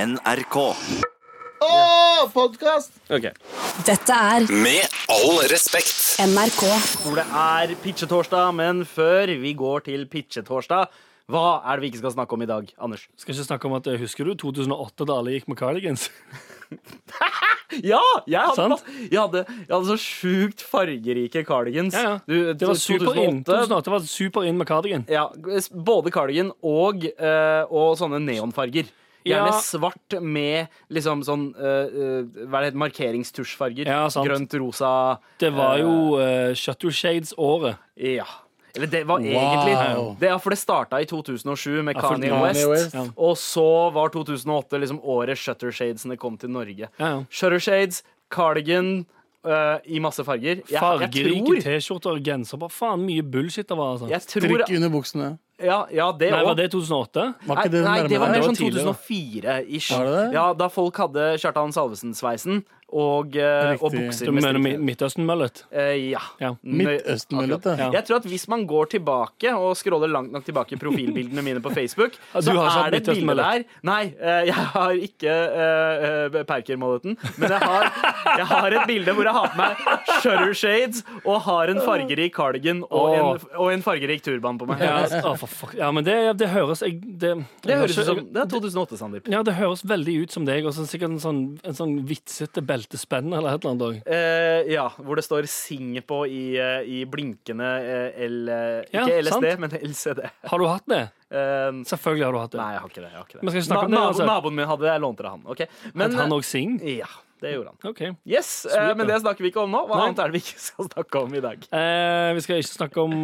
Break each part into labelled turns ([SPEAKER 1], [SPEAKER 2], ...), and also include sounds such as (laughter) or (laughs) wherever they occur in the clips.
[SPEAKER 1] NRK.
[SPEAKER 2] Åh, podkast!
[SPEAKER 3] Ok.
[SPEAKER 4] Dette er
[SPEAKER 5] Med all respekt.
[SPEAKER 4] NRK.
[SPEAKER 3] For det er pitchetorsdag, men før vi går til pitchetorsdag, hva er det vi ikke skal snakke om i dag, Anders?
[SPEAKER 6] Skal ikke snakke om at eh, Husker du 2008, da alle gikk med cardigans?
[SPEAKER 3] Ja! Jeg hadde,
[SPEAKER 6] Sant?
[SPEAKER 3] masse- jeg hadde, jeg hadde så sjukt fargerike cardigans. Du,
[SPEAKER 6] (laughs) det var super inn.
[SPEAKER 3] 2008.
[SPEAKER 6] 2008 var super inn med cardigan.
[SPEAKER 3] Ja, s- både cardigan og, eh, og sånne neonfarger. Gjerne
[SPEAKER 6] Ja.
[SPEAKER 3] svart med liksom sånn eh, eh, Hva er det, markeringstusjfarger.
[SPEAKER 6] Ja, sant.
[SPEAKER 3] Grønt, rosa
[SPEAKER 6] Det var jo
[SPEAKER 3] Eh.
[SPEAKER 6] uh, Shuttle Shades-året.
[SPEAKER 3] Ja. Eller det var
[SPEAKER 6] Wow.
[SPEAKER 3] egentlig det, er For det starta i 2007 med
[SPEAKER 6] Ja, for
[SPEAKER 3] Kanye
[SPEAKER 6] Kanye
[SPEAKER 3] West.
[SPEAKER 2] West.
[SPEAKER 6] Ja.
[SPEAKER 3] Og så var 2008 liksom året Shutter Shadesene kom til Norge.
[SPEAKER 6] Ja, ja.
[SPEAKER 3] Shutter Shades, cardigan øh, i masse farger. Jeg, jeg
[SPEAKER 6] Fargerike
[SPEAKER 3] tror,
[SPEAKER 6] T-skjorter og genser. Bare faen mye bullshit det var. altså.
[SPEAKER 3] jeg tror
[SPEAKER 2] Trykk under buksene.
[SPEAKER 3] Ja, ja det
[SPEAKER 6] Nei,
[SPEAKER 3] òg.
[SPEAKER 6] var det 2008?
[SPEAKER 2] Var
[SPEAKER 3] Nei,
[SPEAKER 2] ikke det
[SPEAKER 3] nei, det var
[SPEAKER 2] nærmere?
[SPEAKER 3] mer
[SPEAKER 6] var
[SPEAKER 3] sånn
[SPEAKER 6] tidligere.
[SPEAKER 3] 2004-ish.
[SPEAKER 2] Var det det?
[SPEAKER 3] Ja, Da folk hadde Kjartan Salvesen-sveisen og, øh, og
[SPEAKER 2] Riktig.
[SPEAKER 3] bukser
[SPEAKER 6] Du
[SPEAKER 3] med
[SPEAKER 6] mener Mi-
[SPEAKER 3] striper.
[SPEAKER 6] Midtøsten-møllet?
[SPEAKER 3] Eh, ja.
[SPEAKER 6] Ja.
[SPEAKER 3] Nøy-
[SPEAKER 2] Midtøsten-møllete.
[SPEAKER 3] akkurat. Jeg tror at hvis man går tilbake og scroller langt nok tilbake i profilbildene mine på Facebook,
[SPEAKER 6] (laughs) Ja, du
[SPEAKER 3] så
[SPEAKER 6] har
[SPEAKER 3] er
[SPEAKER 6] sånn
[SPEAKER 3] det et bilde der
[SPEAKER 6] Midtøsten-møllete.
[SPEAKER 3] Nei, eh, jeg har ikke uh, Perker-molleten, men jeg
[SPEAKER 6] (laughs)
[SPEAKER 3] har, jeg har et bilde hvor jeg har på meg shutter shades og har en fargerik cardigan og en, og en fargerik turban på meg.
[SPEAKER 6] Ja, altså, å, for fuck. ja, men det, det høres jeg, det,
[SPEAKER 3] Det høres ut som Det er 2008, Sandeep.
[SPEAKER 6] Ja, det høres veldig ut som deg, og så sikkert en sånn, en sånn vitsete beltespenn eller et eller annet. også.
[SPEAKER 3] Eh, ja, hvor det står 'Sing' på i, eh, i blinkende eh, L... eh,
[SPEAKER 6] Ja,
[SPEAKER 3] Ikke LSD,
[SPEAKER 6] sant.
[SPEAKER 3] men LCD.
[SPEAKER 6] Har du hatt det?
[SPEAKER 3] Eh,
[SPEAKER 6] Selvfølgelig har du hatt det.
[SPEAKER 3] Nei, jeg har ikke det. Jeg har ikke det.
[SPEAKER 6] Men skal vi snakke om
[SPEAKER 3] Na-
[SPEAKER 6] det,
[SPEAKER 3] nabo-
[SPEAKER 6] altså?
[SPEAKER 3] Naboen min hadde det, jeg lånte det av han. ok? Men- eh,
[SPEAKER 6] At han òg synger?
[SPEAKER 3] Ja, det gjorde han.
[SPEAKER 6] OK.
[SPEAKER 3] Yes, eh, Men
[SPEAKER 6] da.
[SPEAKER 3] det snakker vi ikke om nå. Hva
[SPEAKER 6] Nei.
[SPEAKER 3] annet er det vi ikke skal snakke om i dag?
[SPEAKER 6] Eh, vi skal ikke snakke om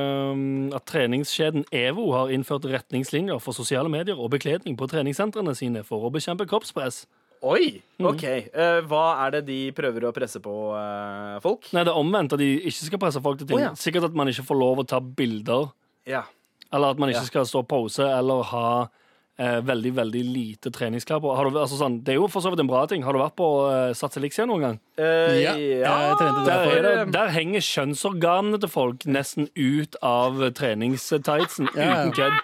[SPEAKER 6] eh, at treningskjeden EVO har innført retningslinjer for sosiale medier og bekledning på treningssentrene sine for å bekjempe kroppspress.
[SPEAKER 3] Oi! OK. eh, hva er det de prøver å presse på eh, folk?
[SPEAKER 6] Nei, det er omvendt at de ikke skal presse folk til ting.
[SPEAKER 3] Å, ja.
[SPEAKER 6] Sikkert at man ikke får lov å ta bilder,
[SPEAKER 3] Ja.
[SPEAKER 6] eller at man ikke
[SPEAKER 3] Ja.
[SPEAKER 6] skal stå og pose eller ha eh, veldig, veldig lite treningsklær på. Har du, altså, sånn, det er jo for så vidt en bra ting. Har du vært på eh, Sats Elixia noen gang?
[SPEAKER 3] Eh,
[SPEAKER 2] Ja, jeg trente
[SPEAKER 6] Der,
[SPEAKER 3] for,
[SPEAKER 6] er det,
[SPEAKER 3] eh,
[SPEAKER 6] der henger kjønnsorganene til folk nesten ut av treningstightsen.
[SPEAKER 2] Ja, ja.
[SPEAKER 6] Uten kødd.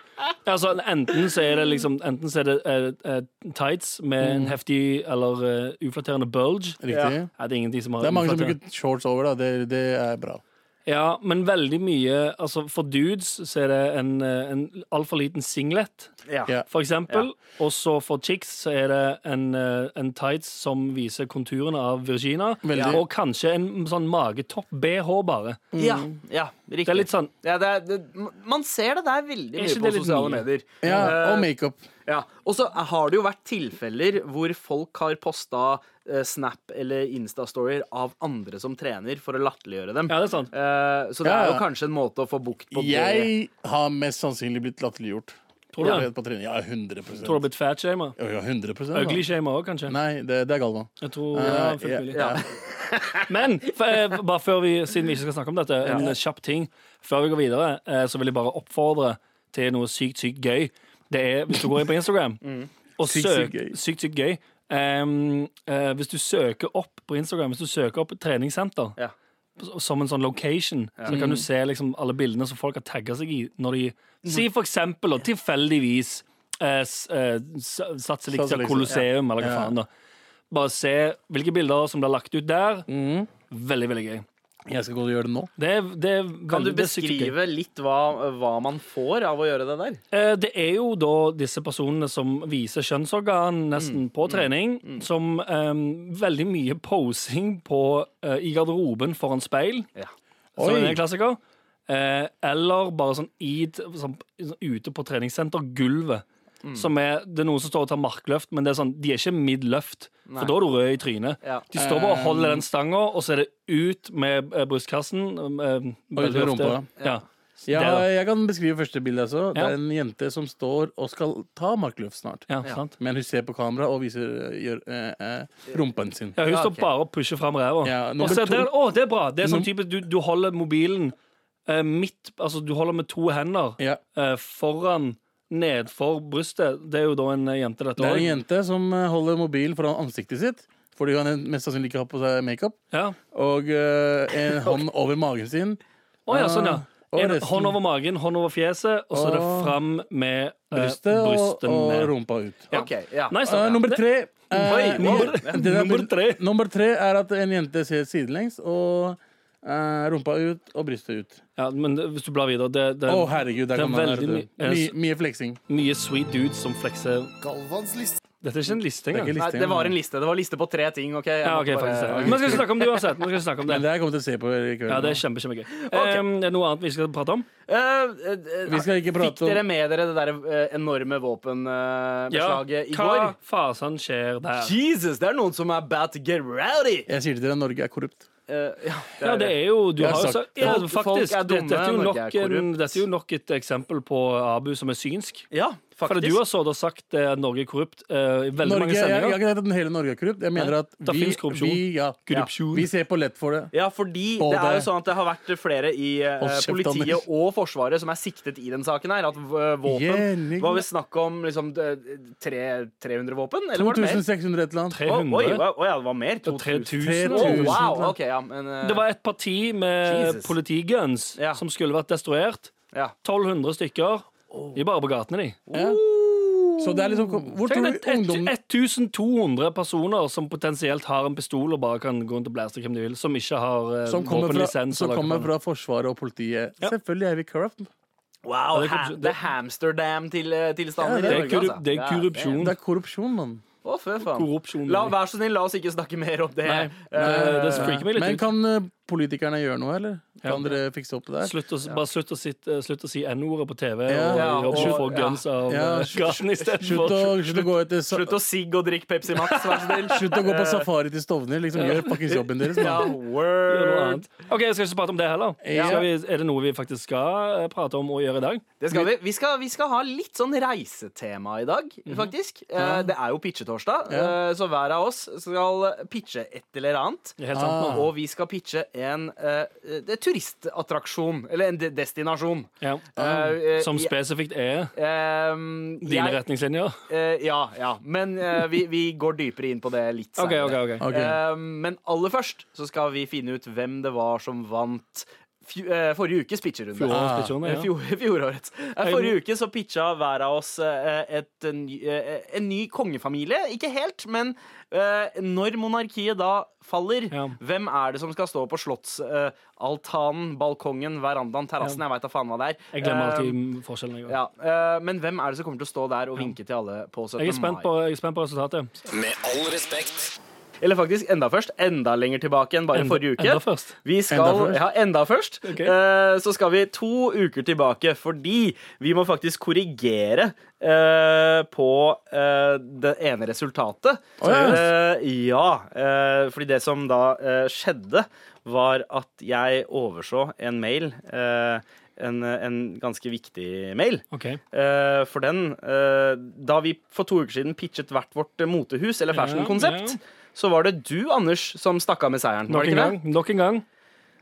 [SPEAKER 6] Altså, enten så er det, liksom, enten så er det eh, eh, tights med en heftig eller eh, uflatterende bulge.
[SPEAKER 2] Mm.
[SPEAKER 6] Nei,
[SPEAKER 2] Riktig.
[SPEAKER 6] det er ingenting som har
[SPEAKER 2] Det er mange som
[SPEAKER 6] uflatterende.
[SPEAKER 2] bruker shorts over, da. Det, det er bra.
[SPEAKER 6] Ja, men veldig mye altså, For dudes så er det en, eh, en altfor liten singlet,
[SPEAKER 3] ja.
[SPEAKER 2] Ja.
[SPEAKER 6] for eksempel. Og så for chicks så er det en, eh, en tights som viser konturene av Virginia.
[SPEAKER 2] Veldig. Mm.
[SPEAKER 6] Og kanskje en sånn magetopp-BH, bare.
[SPEAKER 3] ja, ja, riktig.
[SPEAKER 6] Mm. Det er litt sånn
[SPEAKER 3] ja, det er, det, Man ser det der veldig
[SPEAKER 6] Er
[SPEAKER 3] mye
[SPEAKER 6] ikke
[SPEAKER 3] på
[SPEAKER 6] det litt
[SPEAKER 3] sosiale
[SPEAKER 6] mye?
[SPEAKER 3] medier.
[SPEAKER 2] Ja,
[SPEAKER 3] Eh,
[SPEAKER 2] og makeup.
[SPEAKER 3] Ja, Og så har det jo vært tilfeller hvor folk har posta eh, Snap eller Insta-storier av andre som trener, for å latterliggjøre dem.
[SPEAKER 6] Ja, det er sant.
[SPEAKER 3] Eh, så det
[SPEAKER 2] Ja,
[SPEAKER 3] er jo
[SPEAKER 2] ja.
[SPEAKER 3] kanskje en måte å få bukt på det.
[SPEAKER 2] Jeg har mest sannsynlig blitt latterliggjort.
[SPEAKER 6] Tror du det?
[SPEAKER 2] Jeg vet på trening. Ja, 100
[SPEAKER 6] Tror du det har blitt fatshama?
[SPEAKER 2] Ja, ja, 100 da.
[SPEAKER 6] Ugly-shama òg, kanskje?
[SPEAKER 2] Nei, det, det er Galvan.
[SPEAKER 6] Jeg tror ja,
[SPEAKER 2] Eh,
[SPEAKER 6] fullt mulig.
[SPEAKER 2] ja, ja.
[SPEAKER 6] (laughs) Men f- eh, bare før vi, siden vi ikke skal snakke om dette, en eh, kjapp ting. Før vi går videre, eh, så vil jeg bare oppfordre til noe sykt, sykt gøy. Det er hvis du går inn på
[SPEAKER 2] (laughs)
[SPEAKER 6] Instagram og
[SPEAKER 2] Mm. Sykt, sykt
[SPEAKER 6] søker
[SPEAKER 2] gøy.
[SPEAKER 6] Sykt, sykt gøy. ehm, eh, hvis du søker opp på Instagram Hvis du søker opp treningssenter
[SPEAKER 3] Ja.
[SPEAKER 6] s- som en sånn location, så
[SPEAKER 3] Mm.
[SPEAKER 6] kan du se liksom alle bildene som folk har tagga seg i. Når de, si for eksempel, og tilfeldigvis eh, s- eh, s- Sats Elixia
[SPEAKER 2] Elixia,
[SPEAKER 6] Colosseum, eller hva
[SPEAKER 2] Ja.
[SPEAKER 6] faen. da Bare se hvilke bilder som blir lagt ut der.
[SPEAKER 2] Mm.
[SPEAKER 6] Veldig, veldig gøy.
[SPEAKER 2] Jeg skal gå og gjøre det nå.
[SPEAKER 6] Det er, det er
[SPEAKER 3] Kan du
[SPEAKER 6] veldig- det er sykt gøy.
[SPEAKER 3] beskrive litt hva, hva man får av å gjøre det der?
[SPEAKER 6] Eh, Det er jo da disse personene som viser kjønnsorgan
[SPEAKER 3] Mm.
[SPEAKER 6] nesten på trening, som eh, veldig mye posing på, eh, i garderoben foran speil,
[SPEAKER 3] Ja.
[SPEAKER 6] som
[SPEAKER 2] Oi.
[SPEAKER 6] er en klassiker. Eh, eller bare sånn, i, sånn ute på treningssentergulvet.
[SPEAKER 3] Mm.
[SPEAKER 6] Som er, det er noen som står og tar markløft, men det er sånn, de er ikke midløft.
[SPEAKER 3] Nei.
[SPEAKER 6] For da er du rød i trynet.
[SPEAKER 3] Ja. Eh.
[SPEAKER 6] De står bare og holder den stanga, og så er det ut med eh, brystkassen. eh,
[SPEAKER 2] Og ut med
[SPEAKER 6] veldig ofte.
[SPEAKER 2] rumpa.
[SPEAKER 6] Ja.
[SPEAKER 2] Ja,
[SPEAKER 6] Det da.
[SPEAKER 2] jeg kan beskrive første bilde. Altså. Det
[SPEAKER 6] Ja.
[SPEAKER 2] er en jente som står og skal ta markløft snart.
[SPEAKER 6] Ja, sant?
[SPEAKER 2] Men hun ser på kamera og viser eh, gjør, eh, eh, rumpen sin.
[SPEAKER 6] Ja, hun
[SPEAKER 3] Ja,
[SPEAKER 6] står
[SPEAKER 3] ok.
[SPEAKER 6] bare og pusher fram ræva.
[SPEAKER 2] Ja,
[SPEAKER 6] Og
[SPEAKER 2] nummer
[SPEAKER 6] så er
[SPEAKER 2] to-
[SPEAKER 6] det- Å, det er bra! Det er sånn type, du, du holder mobilen eh, midt Altså, du holder med to hender
[SPEAKER 2] Ja.
[SPEAKER 6] eh, foran Nedfor brystet. Det er jo da en eh, jente, dette
[SPEAKER 2] Det er en
[SPEAKER 6] òg.
[SPEAKER 2] jente som eh, holder mobilen foran ansiktet sitt. Fordi hun har mest sannsynlig ikke har på seg makeup.
[SPEAKER 6] Ja. (laughs)
[SPEAKER 2] Og eh, en hånd over magen sin.
[SPEAKER 6] Å ja, sånn, ja.
[SPEAKER 2] Og Og
[SPEAKER 6] En
[SPEAKER 2] resten-
[SPEAKER 6] hånd over magen, hånd over fjeset, og så er det
[SPEAKER 2] Åh.
[SPEAKER 6] fram med eh,
[SPEAKER 2] Brystet og, og
[SPEAKER 6] brystene.
[SPEAKER 2] rumpa ut.
[SPEAKER 6] Ja.
[SPEAKER 3] Ok, ja.
[SPEAKER 6] Nei,
[SPEAKER 2] Eh,
[SPEAKER 6] sånn, ja.
[SPEAKER 2] nummer
[SPEAKER 6] Det-
[SPEAKER 2] tre eh,
[SPEAKER 3] Oi,
[SPEAKER 2] den
[SPEAKER 3] wow.
[SPEAKER 2] er- (laughs) den er-
[SPEAKER 6] Nummer tre.
[SPEAKER 2] Nummer tre er at en jente ser sidelengs, og eh, rumpa ut og brystet ut.
[SPEAKER 6] Ja, men det- hvis du blar videre det, det
[SPEAKER 2] Å,
[SPEAKER 6] er
[SPEAKER 2] herregud, der
[SPEAKER 6] det er
[SPEAKER 2] kan man
[SPEAKER 6] veldig
[SPEAKER 2] vet du.
[SPEAKER 6] mye-
[SPEAKER 2] Mye- Mye fleksing.
[SPEAKER 6] mye sweet dudes som flekser
[SPEAKER 5] Galvans liste.
[SPEAKER 6] Dette er ikke en liste
[SPEAKER 2] Det er ikke
[SPEAKER 6] engang.
[SPEAKER 2] en
[SPEAKER 3] Nei, det var en liste. Det var en liste på tre ting. ok? Jeg
[SPEAKER 6] Ja,
[SPEAKER 3] måtte
[SPEAKER 6] ok,
[SPEAKER 3] bare-
[SPEAKER 6] faktisk det. Men skal ikke snakke om det uansett. Man skal ikke snakke (laughs) om
[SPEAKER 2] Men
[SPEAKER 6] det.
[SPEAKER 2] det her kommer jeg til å se på i kveld.
[SPEAKER 6] Ja, det er kjempe, kjempegøy. Em, er det noe annet vi skal prate om?
[SPEAKER 3] Eh, eh, eh,
[SPEAKER 2] Vi skal ikke prate
[SPEAKER 3] Fikk dere
[SPEAKER 2] om-
[SPEAKER 3] med dere det der eh, enorme våpenbeslaget i går?
[SPEAKER 6] hva fasen skjer der?
[SPEAKER 3] Jesus, det er noen som er bad to get rowdy!
[SPEAKER 2] Jeg sier til dere Norge er korrupt.
[SPEAKER 3] Eh, ja, det
[SPEAKER 6] Ja, det er jo Du
[SPEAKER 2] Jeg
[SPEAKER 6] har
[SPEAKER 2] har
[SPEAKER 6] jo
[SPEAKER 2] sagt-
[SPEAKER 6] sagt ja,
[SPEAKER 3] Folk- folk
[SPEAKER 6] Faktisk.
[SPEAKER 3] er dumme,
[SPEAKER 6] dette, er jo nok
[SPEAKER 3] Norge er
[SPEAKER 6] en,
[SPEAKER 3] korrupt.
[SPEAKER 6] dette er jo nok et eksempel på Abu som er synsk.
[SPEAKER 3] Ja,
[SPEAKER 6] For
[SPEAKER 3] faktisk.
[SPEAKER 6] du har sådd og sagt eh, at Norge er korrupt eh, i veldig
[SPEAKER 2] Norge,
[SPEAKER 6] mange
[SPEAKER 2] jeg, jeg har
[SPEAKER 6] sendinger.
[SPEAKER 2] ikke sagt at hele Norge er korrupt. Jeg mener
[SPEAKER 6] Nei,
[SPEAKER 2] at
[SPEAKER 6] da
[SPEAKER 2] vi,
[SPEAKER 6] finnes korrupsjon.
[SPEAKER 2] vi, ja,
[SPEAKER 6] Korrupsjon.
[SPEAKER 2] vi ser på lett for det.
[SPEAKER 3] Ja, fordi
[SPEAKER 2] Både-
[SPEAKER 3] det er jo sånn at det har vært flere i eh,
[SPEAKER 2] Hold kjeft, Anders.
[SPEAKER 3] politiet og Forsvaret som er siktet i den saken her. At eh, våpen
[SPEAKER 2] Gjening.
[SPEAKER 3] Var vel snakk om liksom eh, tre, 300 våpen? Eller var det mer?
[SPEAKER 2] 2600 et eller annet.
[SPEAKER 3] Å oi,
[SPEAKER 6] 300.
[SPEAKER 3] å, å ja, det var mer. 2000.
[SPEAKER 6] 3000.
[SPEAKER 3] Å,
[SPEAKER 2] 3000.
[SPEAKER 3] wow, ok, ja, men eh,
[SPEAKER 6] Det var et parti med
[SPEAKER 3] Jesus.
[SPEAKER 6] politiguns
[SPEAKER 3] Ja.
[SPEAKER 6] som skulle vært destruert.
[SPEAKER 3] ja.
[SPEAKER 6] 1200 stykker. De er bare på gatene, de.
[SPEAKER 2] Ja. Så det er liksom Oh. Hvor tror
[SPEAKER 6] Tenk
[SPEAKER 2] du
[SPEAKER 6] deg
[SPEAKER 2] ungdommen
[SPEAKER 6] et- 1200 personer som potensielt har en pistol og bare kan gå rundt og blæste hvem de vil, som ikke har eh,
[SPEAKER 2] som kommer, fra,
[SPEAKER 6] våpenlisens.
[SPEAKER 2] som
[SPEAKER 6] eller hva
[SPEAKER 2] kommer
[SPEAKER 6] faen.
[SPEAKER 2] fra Forsvaret og politiet.
[SPEAKER 6] Ja.
[SPEAKER 2] Selvfølgelig er vi corrupt.
[SPEAKER 3] Wow,
[SPEAKER 6] Ja, det er
[SPEAKER 3] ha,
[SPEAKER 6] korrupt-
[SPEAKER 3] det er Hamsterdam-tilstanden
[SPEAKER 2] Ja, det er
[SPEAKER 3] i Norge,
[SPEAKER 6] korrupt-
[SPEAKER 3] altså.
[SPEAKER 6] det er
[SPEAKER 3] Ja,
[SPEAKER 6] korrupsjon.
[SPEAKER 2] Det er korrupsjon, mann.
[SPEAKER 3] Å, fy faen.
[SPEAKER 6] Korrupsjon.
[SPEAKER 3] La, vær så snill, la oss ikke snakke mer om det.
[SPEAKER 6] Nei,
[SPEAKER 3] Eh,
[SPEAKER 6] eh, det freaker meg litt
[SPEAKER 2] Men
[SPEAKER 6] ut.
[SPEAKER 2] kan eh, politikerne gjøre noe, eller? Kan
[SPEAKER 6] Ja.
[SPEAKER 2] dere fikse opp det der?
[SPEAKER 6] Slutt å, bare slutt å, sitt, eh, slutt å si N-ordet på TV
[SPEAKER 2] Ja.
[SPEAKER 6] og
[SPEAKER 3] Ja,
[SPEAKER 6] jobbe
[SPEAKER 3] og-
[SPEAKER 6] for
[SPEAKER 3] ja.
[SPEAKER 6] guns av
[SPEAKER 2] Ja,
[SPEAKER 6] eh,
[SPEAKER 2] slutt-
[SPEAKER 6] (laughs) gaten
[SPEAKER 2] Slutt
[SPEAKER 6] istedenfor.
[SPEAKER 2] å, slutt å gå etter sa-
[SPEAKER 3] Slutt å sigge og drikke Pepsi Max, vær så snill.
[SPEAKER 2] Slutt å gå på safari til Stovner. Liksom, Gjør fuckings jobben deres.
[SPEAKER 3] Ja,
[SPEAKER 2] mann.
[SPEAKER 3] word.
[SPEAKER 6] OK, jeg skal ikke prate om det heller.
[SPEAKER 2] Ja.
[SPEAKER 6] Skal vi, er det noe vi faktisk skal eh, prate om og gjøre i dag?
[SPEAKER 3] Det skal vi. Vi skal, vi skal ha litt sånn reisetema i dag,
[SPEAKER 6] Mhm.
[SPEAKER 3] faktisk. Eh, Det er jo pitchetorsdag,
[SPEAKER 2] Ja.
[SPEAKER 3] eh, så hver av oss skal pitche et eller annet.
[SPEAKER 6] Det er Helt sant,
[SPEAKER 2] Ah.
[SPEAKER 6] nå.
[SPEAKER 3] Og vi skal pitche en eh, det er turistattraksjon, eller en de destinasjon.
[SPEAKER 6] Ja.
[SPEAKER 3] Eh, eh,
[SPEAKER 6] Som
[SPEAKER 3] jeg-
[SPEAKER 6] spesifikt er
[SPEAKER 3] eh,
[SPEAKER 6] dine
[SPEAKER 3] jeg-
[SPEAKER 6] retningslinjer?
[SPEAKER 3] eh, ja, ja. Men eh, vi, vi går dypere inn på det litt
[SPEAKER 6] OK,
[SPEAKER 3] senere.
[SPEAKER 6] OK. ok
[SPEAKER 2] Ok.
[SPEAKER 3] Eh, men aller først så skal vi finne ut hvem det var som vant fju- eh, forrige ukes pitcherunde.
[SPEAKER 6] Fjorårets pitcherunde,
[SPEAKER 3] Eh,
[SPEAKER 6] ja.
[SPEAKER 3] fjor- Fjorårets. Eh, Forrige uke så pitcha hver av oss eh, et, eh, ny- eh, en ny kongefamilie. Ikke helt, men eh, når monarkiet da faller,
[SPEAKER 6] Ja.
[SPEAKER 3] hvem er det som skal stå på slottsaltanen, balkongen, verandaen, terrassen? Jeg veit da faen hva det er.
[SPEAKER 6] Jeg glemmer
[SPEAKER 3] Eh,
[SPEAKER 6] alltid forskjellen. Jeg, også.
[SPEAKER 3] ja, eh, men hvem er det som kommer til å stå der og vinke til alle på 17.
[SPEAKER 6] jeg, er, spent
[SPEAKER 3] mai?
[SPEAKER 6] på, jeg er spent på resultatet.
[SPEAKER 5] Med all respekt.
[SPEAKER 3] Eller faktisk enda først. Enda lenger tilbake enn bare
[SPEAKER 6] Enda-
[SPEAKER 3] forrige uke.
[SPEAKER 6] enda først?
[SPEAKER 3] Vi skal,
[SPEAKER 2] Enda først?
[SPEAKER 3] Ja, enda først. Eh, så skal vi to uker tilbake, fordi vi må faktisk korrigere eh, på eh, det ene resultatet.
[SPEAKER 2] Å, ja.
[SPEAKER 3] Eh, ja, eh, fordi det som da eh, skjedde, var at jeg overså en mail. eh, en, en ganske viktig mail.
[SPEAKER 6] Ok.
[SPEAKER 3] Eh, for den eh, Da vi for to uker siden pitchet hvert vårt eh, motehus eller fashionkonsept,
[SPEAKER 6] ja.
[SPEAKER 3] så var det du, Anders, som stakk av med seieren. Var det
[SPEAKER 6] Nok en
[SPEAKER 3] ikke
[SPEAKER 6] gang.
[SPEAKER 3] det?
[SPEAKER 6] Nok en gang.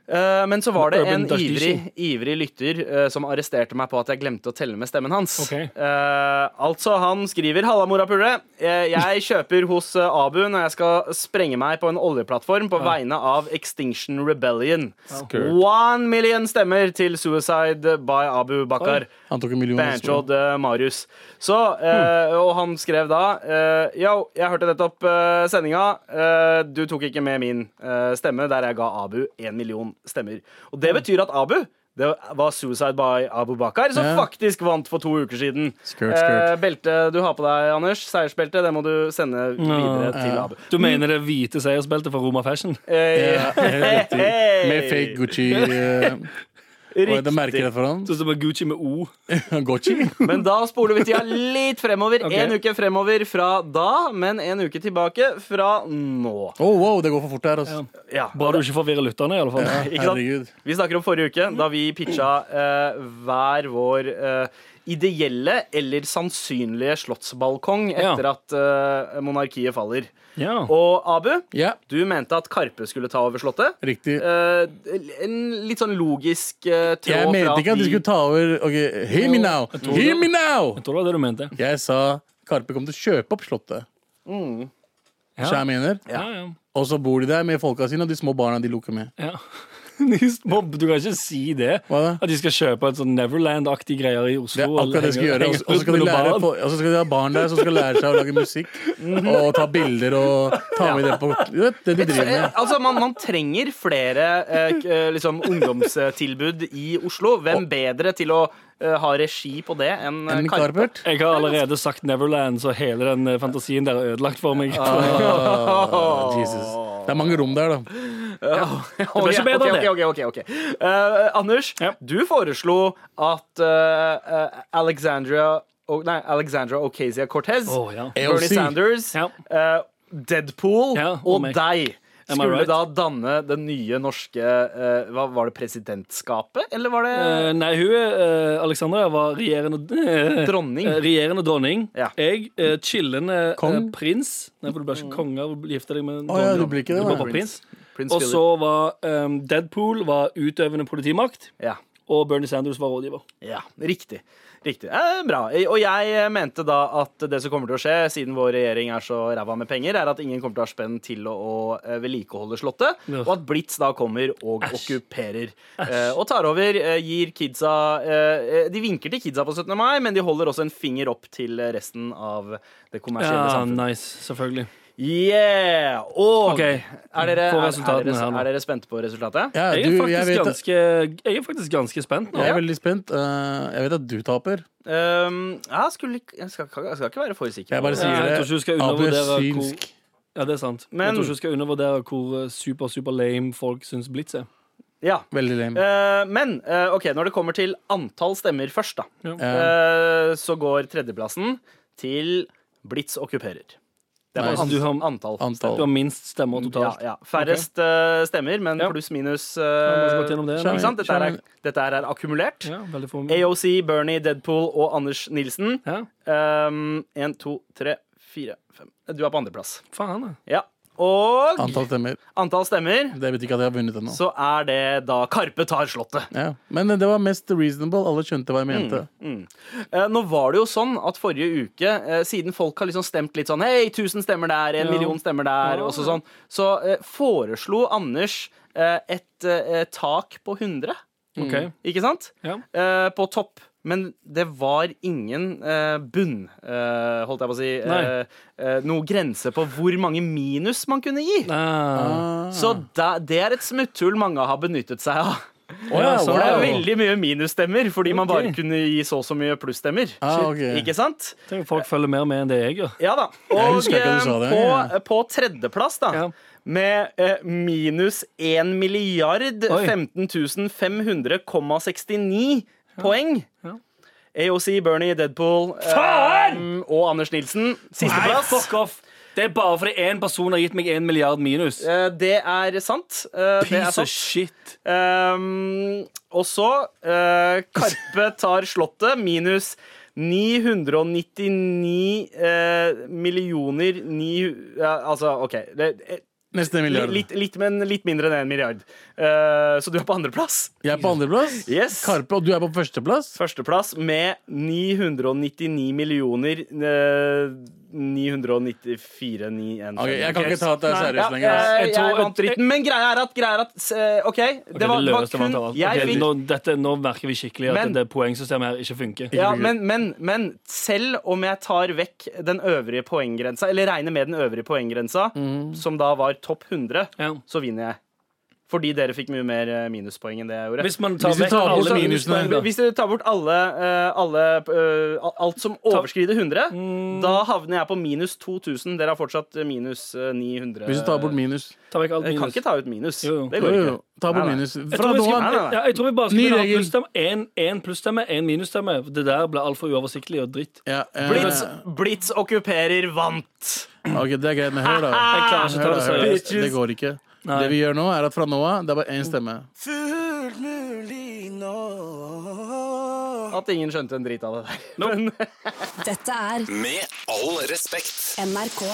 [SPEAKER 3] Eh, men så var det
[SPEAKER 6] Urban
[SPEAKER 3] en
[SPEAKER 6] Dusty
[SPEAKER 3] ivrig, ivrig lytter eh, som arresterte meg på at jeg glemte å telle med stemmen hans.
[SPEAKER 6] Ok.
[SPEAKER 3] Eh, altså, han skriver 'Halla, morapulere. Eh, jeg kjøper hos eh, Abu når jeg skal sprenge meg på en oljeplattform på vegne av Extinction Rebellion'. One million stemmer til Suicide by Abu Bakar.
[SPEAKER 2] Han tok en million. også.
[SPEAKER 3] Banjod eh, Marius. Så, eh,
[SPEAKER 2] Hmm.
[SPEAKER 3] Og han skrev da eh, Yo, jeg hørte nettopp eh, sendinga. Eh, du tok ikke med min eh, stemme, der jeg ga Abu én million stemmer. Og
[SPEAKER 2] Hmm.
[SPEAKER 3] det betyr at Abu det var Suicide by Abu Bakar, som
[SPEAKER 2] Ja.
[SPEAKER 3] faktisk vant for to uker siden.
[SPEAKER 2] Skurt, skurt.
[SPEAKER 3] Eh, beltet du har på deg, Anders, seiersbeltet, det må du sende videre til Abu.
[SPEAKER 6] Du mener det hvite seiersbeltet fra Roma Fashion?
[SPEAKER 3] Eh,
[SPEAKER 2] Ja, helt riktig.
[SPEAKER 3] Hey!
[SPEAKER 2] Med fake Gucci. eh, Og det merker jeg for han.
[SPEAKER 6] Sånn som en Gucci med O.
[SPEAKER 2] (laughs) Gucci.
[SPEAKER 3] Men da spoler vi tida litt
[SPEAKER 2] (laughs)
[SPEAKER 3] fremover.
[SPEAKER 6] Ok.
[SPEAKER 3] En uke fremover fra da, men en uke tilbake fra nå.
[SPEAKER 2] Oh, wow, det går for fort her, altså.
[SPEAKER 3] Ja,
[SPEAKER 6] Bra du ikke forvirrer lytterne, i alle fall.
[SPEAKER 3] ikke sant?
[SPEAKER 2] Herregud.
[SPEAKER 3] Vi snakker om forrige uke, da vi pitcha eh, hver vår eh, ideelle eller sannsynlige slottsbalkong
[SPEAKER 6] Ja.
[SPEAKER 3] etter at eh, monarkiet faller.
[SPEAKER 6] Ja.
[SPEAKER 3] Og Abu,
[SPEAKER 2] Ja,
[SPEAKER 3] du mente at Karpe skulle ta over slottet.
[SPEAKER 2] riktig.
[SPEAKER 3] Eh, en litt sånn logisk eh, tråd
[SPEAKER 2] Jeg mente
[SPEAKER 3] fra
[SPEAKER 2] ikke at de
[SPEAKER 3] de-
[SPEAKER 2] skulle ta over OK, hear me now!
[SPEAKER 6] Jeg tror
[SPEAKER 2] Hear
[SPEAKER 6] det.
[SPEAKER 2] me now!
[SPEAKER 6] Jeg tror det var det du mente.
[SPEAKER 2] Jeg sa Karpe kom til å kjøpe opp Slottet.
[SPEAKER 6] Ja.
[SPEAKER 2] Skjær mener.
[SPEAKER 6] Ja, ja.
[SPEAKER 2] Og så bor de der med folka sine og de små barna de lukker med.
[SPEAKER 6] ja. (laughs) Nyst mobb. Du kan ikke si det.
[SPEAKER 2] Hva da?
[SPEAKER 6] At de skal kjøpe et sånn Neverland-aktig greier i Oslo.
[SPEAKER 2] Det er akkurat det jeg skal gjøre. Og så- Og så skal de lære på- og så skal de ha barn der som skal lære seg å lage musikk. Og ta bilder og ta med det på Du vet, det de driver
[SPEAKER 3] Eh,
[SPEAKER 2] med.
[SPEAKER 3] Altså, man, man trenger flere eh, k- eh, liksom, ungdomstilbud i Oslo. Hvem bedre til å eh, ha regi på det enn eh,
[SPEAKER 2] Mick
[SPEAKER 3] Karpe? (laughs)
[SPEAKER 2] Carpert.
[SPEAKER 6] Jeg har allerede sagt Neverland, så hele den eh, fantasien der er ødelagt for meg.
[SPEAKER 2] Åh, Jesus. Det er mange rom der, da.
[SPEAKER 3] Det
[SPEAKER 6] ble ikke bedre av det.
[SPEAKER 3] Ok, ok, ok, ok. Eh, Anders,
[SPEAKER 6] Ja.
[SPEAKER 3] du foreslo at eh, eh, Alexandria O- Nei, Alexandra Ocasia Cortez,
[SPEAKER 6] Åh, ja.
[SPEAKER 2] AOC.
[SPEAKER 3] Bernie Sanders,
[SPEAKER 6] Ja.
[SPEAKER 3] eh, Deadpool
[SPEAKER 6] Ja, og
[SPEAKER 3] og
[SPEAKER 6] meg.
[SPEAKER 3] deg
[SPEAKER 6] Am I
[SPEAKER 3] skulle
[SPEAKER 6] right?
[SPEAKER 3] da danne det nye norske eh, hva, Var det presidentskapet, eller var det
[SPEAKER 6] (laughs) Eh, nei, hun eh, Alexandra var regjerende eh,
[SPEAKER 3] Dronning.
[SPEAKER 6] eh, Regjerende dronning.
[SPEAKER 3] Ja.
[SPEAKER 6] Jeg eh, chillende eh,
[SPEAKER 2] Kong?
[SPEAKER 6] prins. Nei, for du blir ikke konge av å gifte deg med en
[SPEAKER 2] Å ja,
[SPEAKER 6] dronning.
[SPEAKER 2] du blir ikke det,
[SPEAKER 6] Du blir
[SPEAKER 2] nei.
[SPEAKER 6] bare prins.
[SPEAKER 3] Prince
[SPEAKER 6] Og
[SPEAKER 3] Philip?
[SPEAKER 6] så var eh, Deadpool var utøvende politimakt,
[SPEAKER 3] ja.
[SPEAKER 6] og Bernie Sanders var rådgiver.
[SPEAKER 3] Ja, riktig. Riktig. Eh, bra. Eh, Og jeg eh, mente da at det som kommer til å skje, siden vår regjering er så ræva med penger, er at ingen kommer til å ha spenn til å, å eh, vedlikeholde Slottet,
[SPEAKER 6] Ja.
[SPEAKER 3] og at Blitz da kommer og okkuperer. eh, og tar over, eh, gir kidsa eh, eh, De vinker til kidsa på 17. mai, men de holder også en finger opp til eh, resten av det kommersielle
[SPEAKER 6] Ja,
[SPEAKER 3] samfunnet.
[SPEAKER 6] nice, selvfølgelig.
[SPEAKER 3] Yeah! Og
[SPEAKER 6] Ok,
[SPEAKER 3] er, dere,
[SPEAKER 6] få
[SPEAKER 3] er, er,
[SPEAKER 6] resultatene
[SPEAKER 3] dere,
[SPEAKER 6] her nå.
[SPEAKER 3] er dere spente på resultatet?
[SPEAKER 2] Ja,
[SPEAKER 6] Jeg er,
[SPEAKER 2] du, jeg,
[SPEAKER 6] faktisk
[SPEAKER 2] vet,
[SPEAKER 6] ganske, jeg er faktisk ganske spent nå.
[SPEAKER 2] jeg er veldig spent. Eh, Jeg vet at du taper.
[SPEAKER 3] Um, jeg, skulle, ikke- jeg, skal, jeg skal ikke være for sikker.
[SPEAKER 2] Jeg bare
[SPEAKER 3] på-
[SPEAKER 2] sier
[SPEAKER 6] jeg tror ikke du
[SPEAKER 2] det.
[SPEAKER 6] skal
[SPEAKER 2] Abu er
[SPEAKER 6] undervurdere hvor-
[SPEAKER 2] synsk.
[SPEAKER 6] Ja, det er sant.
[SPEAKER 3] Men-
[SPEAKER 6] jeg tror ikke du skal undervurdere hvor eh, super, super lame folk syns Blitz er.
[SPEAKER 3] Ja.
[SPEAKER 2] Veldig lame.
[SPEAKER 3] Eh, men eh, ok, når det kommer til antall stemmer først, da,
[SPEAKER 2] Ja.
[SPEAKER 3] eh, så går tredjeplassen til Blitz okkuperer. Det er
[SPEAKER 2] Nice.
[SPEAKER 3] bare
[SPEAKER 6] Du har-
[SPEAKER 3] an antall.
[SPEAKER 2] Antall.
[SPEAKER 6] Du har minst stemmer
[SPEAKER 3] Ja,
[SPEAKER 6] totalt.
[SPEAKER 3] ja. Færrest eh, stemmer, men
[SPEAKER 6] Ja.
[SPEAKER 3] pluss minus. eh,
[SPEAKER 6] Ja, vi har gått gjennom det,
[SPEAKER 3] ikke
[SPEAKER 2] da.
[SPEAKER 3] sant? Dette, her
[SPEAKER 2] Skjønner.
[SPEAKER 3] er, dette her er akkumulert.
[SPEAKER 6] Ja, veldig for
[SPEAKER 3] AOC, Bernie, Deadpool og Anders Nilsen.
[SPEAKER 6] Ja,
[SPEAKER 3] Um, en, to, tre, fire, fem Du er på andreplass.
[SPEAKER 6] faen, da.
[SPEAKER 3] Ja. Og
[SPEAKER 2] Antall stemmer.
[SPEAKER 3] antall stemmer,
[SPEAKER 2] Det betyr ikke at jeg har vunnet ennå.
[SPEAKER 3] så er det da Karpe tar Slottet.
[SPEAKER 2] Ja. Men eh, det var mest reasonable. Alle skjønte hva jeg
[SPEAKER 6] Mm.
[SPEAKER 2] mente.
[SPEAKER 3] Eh, Nå var det jo sånn at forrige uke, eh, siden folk har liksom stemt litt sånn Hei, 1000 stemmer der, en
[SPEAKER 6] Ja.
[SPEAKER 3] million stemmer der, og så sånn, så eh, foreslo Anders eh, et eh, tak på 100,
[SPEAKER 2] Mm.
[SPEAKER 6] OK.
[SPEAKER 3] ikke sant?
[SPEAKER 6] Ja.
[SPEAKER 3] Eh, På topp. Men det var ingen eh, bunn, eh, holdt jeg på å si.
[SPEAKER 6] Nei.
[SPEAKER 3] eh, eh, Noe grense på hvor mange minus man kunne gi.
[SPEAKER 6] Ah.
[SPEAKER 3] Så da, det er et smutthull mange har benyttet seg av.
[SPEAKER 2] Å ja,
[SPEAKER 6] så
[SPEAKER 3] For det er
[SPEAKER 2] wow.
[SPEAKER 3] veldig mye minusstemmer, fordi man
[SPEAKER 6] Ok.
[SPEAKER 3] bare kunne gi så og så mye plusstemmer.
[SPEAKER 2] Ah, ok.
[SPEAKER 3] Ikke sant?
[SPEAKER 6] Tenk at folk følger mer med enn det jeg gjør.
[SPEAKER 3] Ja da.
[SPEAKER 2] Jeg
[SPEAKER 3] Og
[SPEAKER 2] husker ikke at du sa det.
[SPEAKER 3] eh, på, på tredjeplass, da,
[SPEAKER 6] Ja.
[SPEAKER 3] med eh, minus 1 milliard
[SPEAKER 6] Oi.
[SPEAKER 3] 15.500,69 poeng
[SPEAKER 6] Ja.
[SPEAKER 3] AOC, Bernie, Deadpool eh, og Anders Nilsen. Sisteplass.
[SPEAKER 6] off! Det er bare fordi én person har gitt meg én milliard minus.
[SPEAKER 3] Eh, Det er sant. Eh, Det er
[SPEAKER 6] Piece of
[SPEAKER 3] sant.
[SPEAKER 6] shit.
[SPEAKER 3] Ehm, og så eh, Karpe tar Slottet minus 999 eh, millioner ni, ja, Altså, OK. Det, eh,
[SPEAKER 2] Neste
[SPEAKER 3] li-
[SPEAKER 2] milliard.
[SPEAKER 3] litt, litt, men litt mindre enn én milliard. Eh, så du er på andreplass.
[SPEAKER 2] Jeg er på andreplass.
[SPEAKER 3] Yes.
[SPEAKER 2] Karpe, og du er på førsteplass.
[SPEAKER 3] Førsteplass med 999 millioner eh, 994 915.
[SPEAKER 2] Ok, jeg kan ikke ta at det er
[SPEAKER 3] Nei,
[SPEAKER 2] seriøst
[SPEAKER 3] ja, eh,
[SPEAKER 2] lenger. ass.
[SPEAKER 3] Jeg,
[SPEAKER 6] Jeg tror-
[SPEAKER 3] jeg vant dritten, men greia er at, greia er at eh, OK, det var, var
[SPEAKER 6] løyeste
[SPEAKER 3] kun
[SPEAKER 6] vant av
[SPEAKER 2] altså.
[SPEAKER 6] alt.
[SPEAKER 3] jeg
[SPEAKER 6] Ok,
[SPEAKER 3] fikk
[SPEAKER 6] nå, dette, nå merker vi skikkelig at
[SPEAKER 3] Men-
[SPEAKER 6] det poengsystemet her ikke funker.
[SPEAKER 3] Ja, men, men, men selv om jeg tar vekk den øvrige poenggrensa, eller regner med den øvrige poenggrensa,
[SPEAKER 2] Mhm.
[SPEAKER 3] som da var topp 100,
[SPEAKER 6] Ja.
[SPEAKER 3] så vinner jeg. Fordi dere fikk mye mer eh, minuspoeng enn det jeg gjorde.
[SPEAKER 6] Hvis man tar
[SPEAKER 2] Hvis du
[SPEAKER 6] vekk
[SPEAKER 2] tar bort
[SPEAKER 6] alle
[SPEAKER 2] minusene,
[SPEAKER 6] minuspoeng, da.
[SPEAKER 3] Hvis dere tar bort alle, eh, alle eh, al- alt som overskrider 100,
[SPEAKER 2] Mm.
[SPEAKER 3] da havner jeg på minus 2000. Dere har fortsatt eh, minus eh, 900.
[SPEAKER 2] Hvis du tar bort minus.
[SPEAKER 6] Ta vekk alt
[SPEAKER 3] Jeg kan
[SPEAKER 6] minus.
[SPEAKER 3] ikke ta ut minus.
[SPEAKER 6] Jo, jo.
[SPEAKER 3] Det
[SPEAKER 2] Jo,
[SPEAKER 3] går
[SPEAKER 2] jo.
[SPEAKER 3] ikke.
[SPEAKER 2] Ta bort
[SPEAKER 3] Nei, nei.
[SPEAKER 2] minus.
[SPEAKER 6] Jeg
[SPEAKER 2] Fra
[SPEAKER 6] tror, vi
[SPEAKER 2] nå
[SPEAKER 6] skal,
[SPEAKER 2] av
[SPEAKER 3] nei, nei.
[SPEAKER 6] ja, jeg tror vi bare skal
[SPEAKER 2] Ny
[SPEAKER 6] kunne ha
[SPEAKER 2] regel.
[SPEAKER 6] plussstemme. Én- Én plussstemme, én minusstemme. Det der blir altfor uoversiktlig og dritt.
[SPEAKER 2] ja, eh,
[SPEAKER 3] Blitz, Blitz okkuperer vant.
[SPEAKER 2] Ok, det er greit, men
[SPEAKER 3] (laughs)
[SPEAKER 2] hør, da.
[SPEAKER 6] Jeg klarer ikke å
[SPEAKER 2] Hør
[SPEAKER 6] ta
[SPEAKER 2] da,
[SPEAKER 6] det
[SPEAKER 2] hør
[SPEAKER 6] seriøst.
[SPEAKER 2] da. Det går ikke.
[SPEAKER 6] Nei.
[SPEAKER 2] Det vi gjør nå, er at fra nå av det er bare én stemme.
[SPEAKER 5] Fullt mulig nå.
[SPEAKER 3] At ingen skjønte en drit av det der. Men,
[SPEAKER 1] Dette er
[SPEAKER 5] Med all respekt.
[SPEAKER 1] NRK.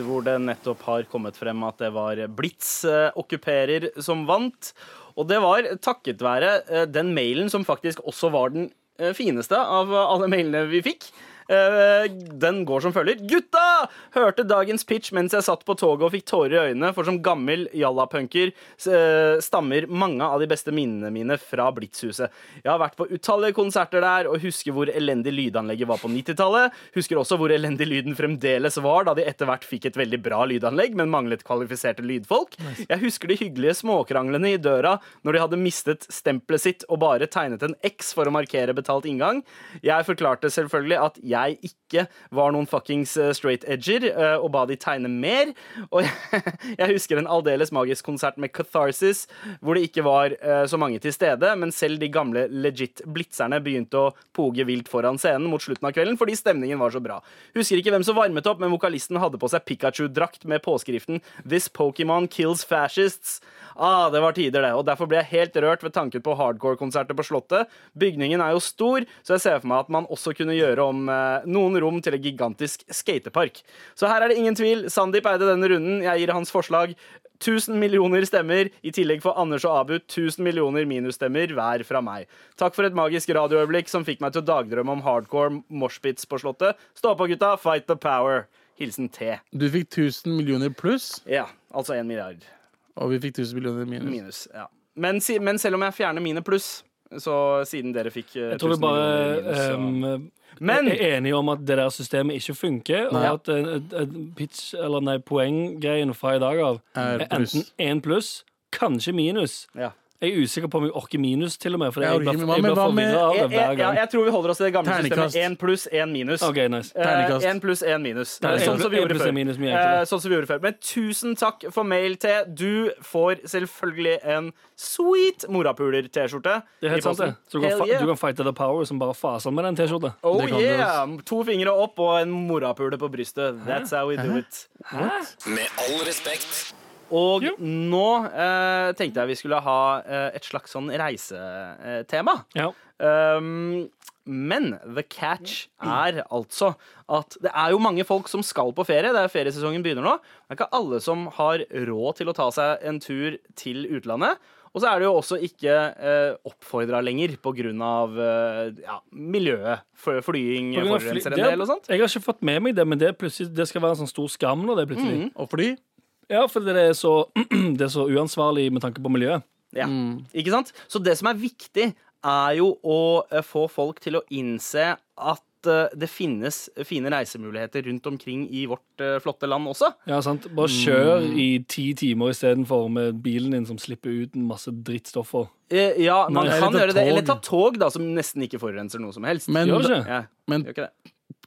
[SPEAKER 3] hvor det nettopp har kommet frem at det var Blitz eh, okkuperer som vant. Og det var takket være eh, den mailen som faktisk også var den eh, fineste av alle eh, mailene vi fikk. Eh, Den går som følger. Gutta! Hørte dagens pitch mens jeg satt på toget og fikk tårer i øynene, for som gammel jallapunker eh, stammer mange av de beste minnene mine fra Blitzhuset. Jeg har vært på utallige konserter der, og husker hvor elendig lydanlegget var på 90-tallet. Husker også hvor elendig lyden fremdeles var, da de etter hvert fikk et veldig bra lydanlegg, men manglet kvalifiserte lydfolk. Jeg husker de hyggelige småkranglene i døra når de hadde mistet stempelet sitt og bare tegnet en X for å markere betalt inngang. Jeg forklarte selvfølgelig at jeg ikke var noen fuckings eh, straight edger, eh, og ba de tegne mer. (laughs) Og jeg husker en aldeles magisk konsert med Catharsis, hvor det ikke var eh, så mange til stede, men selv de gamle legit blitzerne begynte å poge vilt foran scenen mot slutten av kvelden fordi stemningen var så bra. Husker ikke hvem som varmet opp, men vokalisten hadde på seg Pikachu-drakt med påskriften 'This Pokémon kills fascists'. Ah, det var tider, det. Og derfor ble jeg helt rørt ved tanken på hardcore-konserter på Slottet. Bygningen er jo stor, så jeg ser for meg at man også kunne gjøre om eh, noen rom til en gigantisk skatepark. Så her er det ingen tvil. Sandeep eide denne runden. Jeg gir hans forslag 1000 millioner stemmer. I tillegg får Anders og Abu 1000 millioner minusstemmer hver fra meg. Takk for et magisk radioøyeblikk som fikk meg til å dagdrømme om hardcore moshpits på Slottet. Stå på, gutta. Fight the power. Hilsen T.
[SPEAKER 2] Du fikk 1000 millioner pluss,
[SPEAKER 3] Ja, altså én milliard.
[SPEAKER 2] og vi fikk 1000 millioner minus.
[SPEAKER 3] Minus, ja. Men, si, men selv om jeg fjerner mine pluss, så siden dere fikk eh,
[SPEAKER 6] Jeg tror vi
[SPEAKER 3] 1000
[SPEAKER 6] bare
[SPEAKER 3] millioner minus,
[SPEAKER 6] ehm,
[SPEAKER 3] Men-
[SPEAKER 6] er enige om at det der systemet ikke funker. Og
[SPEAKER 3] Nei.
[SPEAKER 6] at eh, eh, pitch, eller nei, poenggreien fra i dag av er
[SPEAKER 2] Er
[SPEAKER 6] enten
[SPEAKER 2] pluss.
[SPEAKER 6] én pluss, kanskje minus.
[SPEAKER 3] så, ja.
[SPEAKER 6] Jeg er usikker på om jeg orker minus, til og med. For
[SPEAKER 2] Jeg
[SPEAKER 6] jeg,
[SPEAKER 2] orker
[SPEAKER 6] blir-
[SPEAKER 2] ikke,
[SPEAKER 6] jeg
[SPEAKER 2] men hva
[SPEAKER 6] blir
[SPEAKER 2] med- hva med-
[SPEAKER 6] forvirra av det
[SPEAKER 3] jeg,
[SPEAKER 6] hver
[SPEAKER 3] jeg, ja,
[SPEAKER 6] gang.
[SPEAKER 3] jeg tror vi holder oss til det gamle
[SPEAKER 2] Terningkast.
[SPEAKER 3] systemet. Én pluss, én minus.
[SPEAKER 6] OK, nice.
[SPEAKER 3] Eh,
[SPEAKER 2] Terningkast.
[SPEAKER 3] Én pluss, én minus. Eh,
[SPEAKER 6] Terningkast.
[SPEAKER 3] Sånn som vi
[SPEAKER 6] Én
[SPEAKER 3] gjorde
[SPEAKER 6] pluss,
[SPEAKER 3] før.
[SPEAKER 6] én minus, mye
[SPEAKER 3] Eh,
[SPEAKER 6] enklere.
[SPEAKER 3] Sånn som vi gjorde før. Men tusen takk for mail til Du får selvfølgelig en sweet morapuler-T-skjorte.
[SPEAKER 6] Det er
[SPEAKER 3] i
[SPEAKER 6] helt sant, det.
[SPEAKER 3] posten.
[SPEAKER 6] Så du kan,
[SPEAKER 3] Hell
[SPEAKER 6] fa-
[SPEAKER 3] yeah.
[SPEAKER 6] du kan fighte the power som bare faser med den T-skjorta.
[SPEAKER 3] Oh
[SPEAKER 2] Det kan du
[SPEAKER 3] yeah! To fingre opp og en morapule på brystet. That's how we do it.
[SPEAKER 5] Med all respekt.
[SPEAKER 3] Og nå eh, tenkte jeg vi skulle ha eh, et slags sånn reisetema.
[SPEAKER 6] Ja.
[SPEAKER 3] Um, men the catch er altså at det er jo mange folk som skal på ferie. Det er Feriesesongen begynner nå. Det er ikke alle som har råd til å ta seg en tur til utlandet. Og så er det jo også ikke eh, oppfordra lenger pga. Eh, ja, miljøet. Fly- Flying
[SPEAKER 6] På grunn av fly-
[SPEAKER 3] forurenser en
[SPEAKER 6] det-
[SPEAKER 3] del og sånn. sånt.
[SPEAKER 6] Jeg har ikke fått med meg det, men det, er plutselig, det skal være en sånn stor skam nå. Det er plutselig.
[SPEAKER 3] Mm.
[SPEAKER 2] Og fordi
[SPEAKER 6] Ja, for det er, så, (clears throat) det er så uansvarlig med tanke på miljøet.
[SPEAKER 3] Ja, ikke sant? Så det som er viktig, er jo å eh, få folk til å innse at eh, det finnes fine reisemuligheter rundt omkring i vårt eh, flotte land også.
[SPEAKER 6] Ja, sant? Bare kjør
[SPEAKER 3] Mm.
[SPEAKER 6] i ti timer istedenfor med bilen din som slipper ut en masse drittstoffer.
[SPEAKER 3] Eh, Ja, man
[SPEAKER 2] Eller
[SPEAKER 3] kan
[SPEAKER 2] ta
[SPEAKER 3] gjøre det. Eller ta
[SPEAKER 2] tog.
[SPEAKER 3] tog, da, som nesten ikke forurenser noe som helst.
[SPEAKER 2] Men,
[SPEAKER 6] Gjør det ikke?
[SPEAKER 3] ja, Mm.
[SPEAKER 2] men
[SPEAKER 3] gjør ikke det.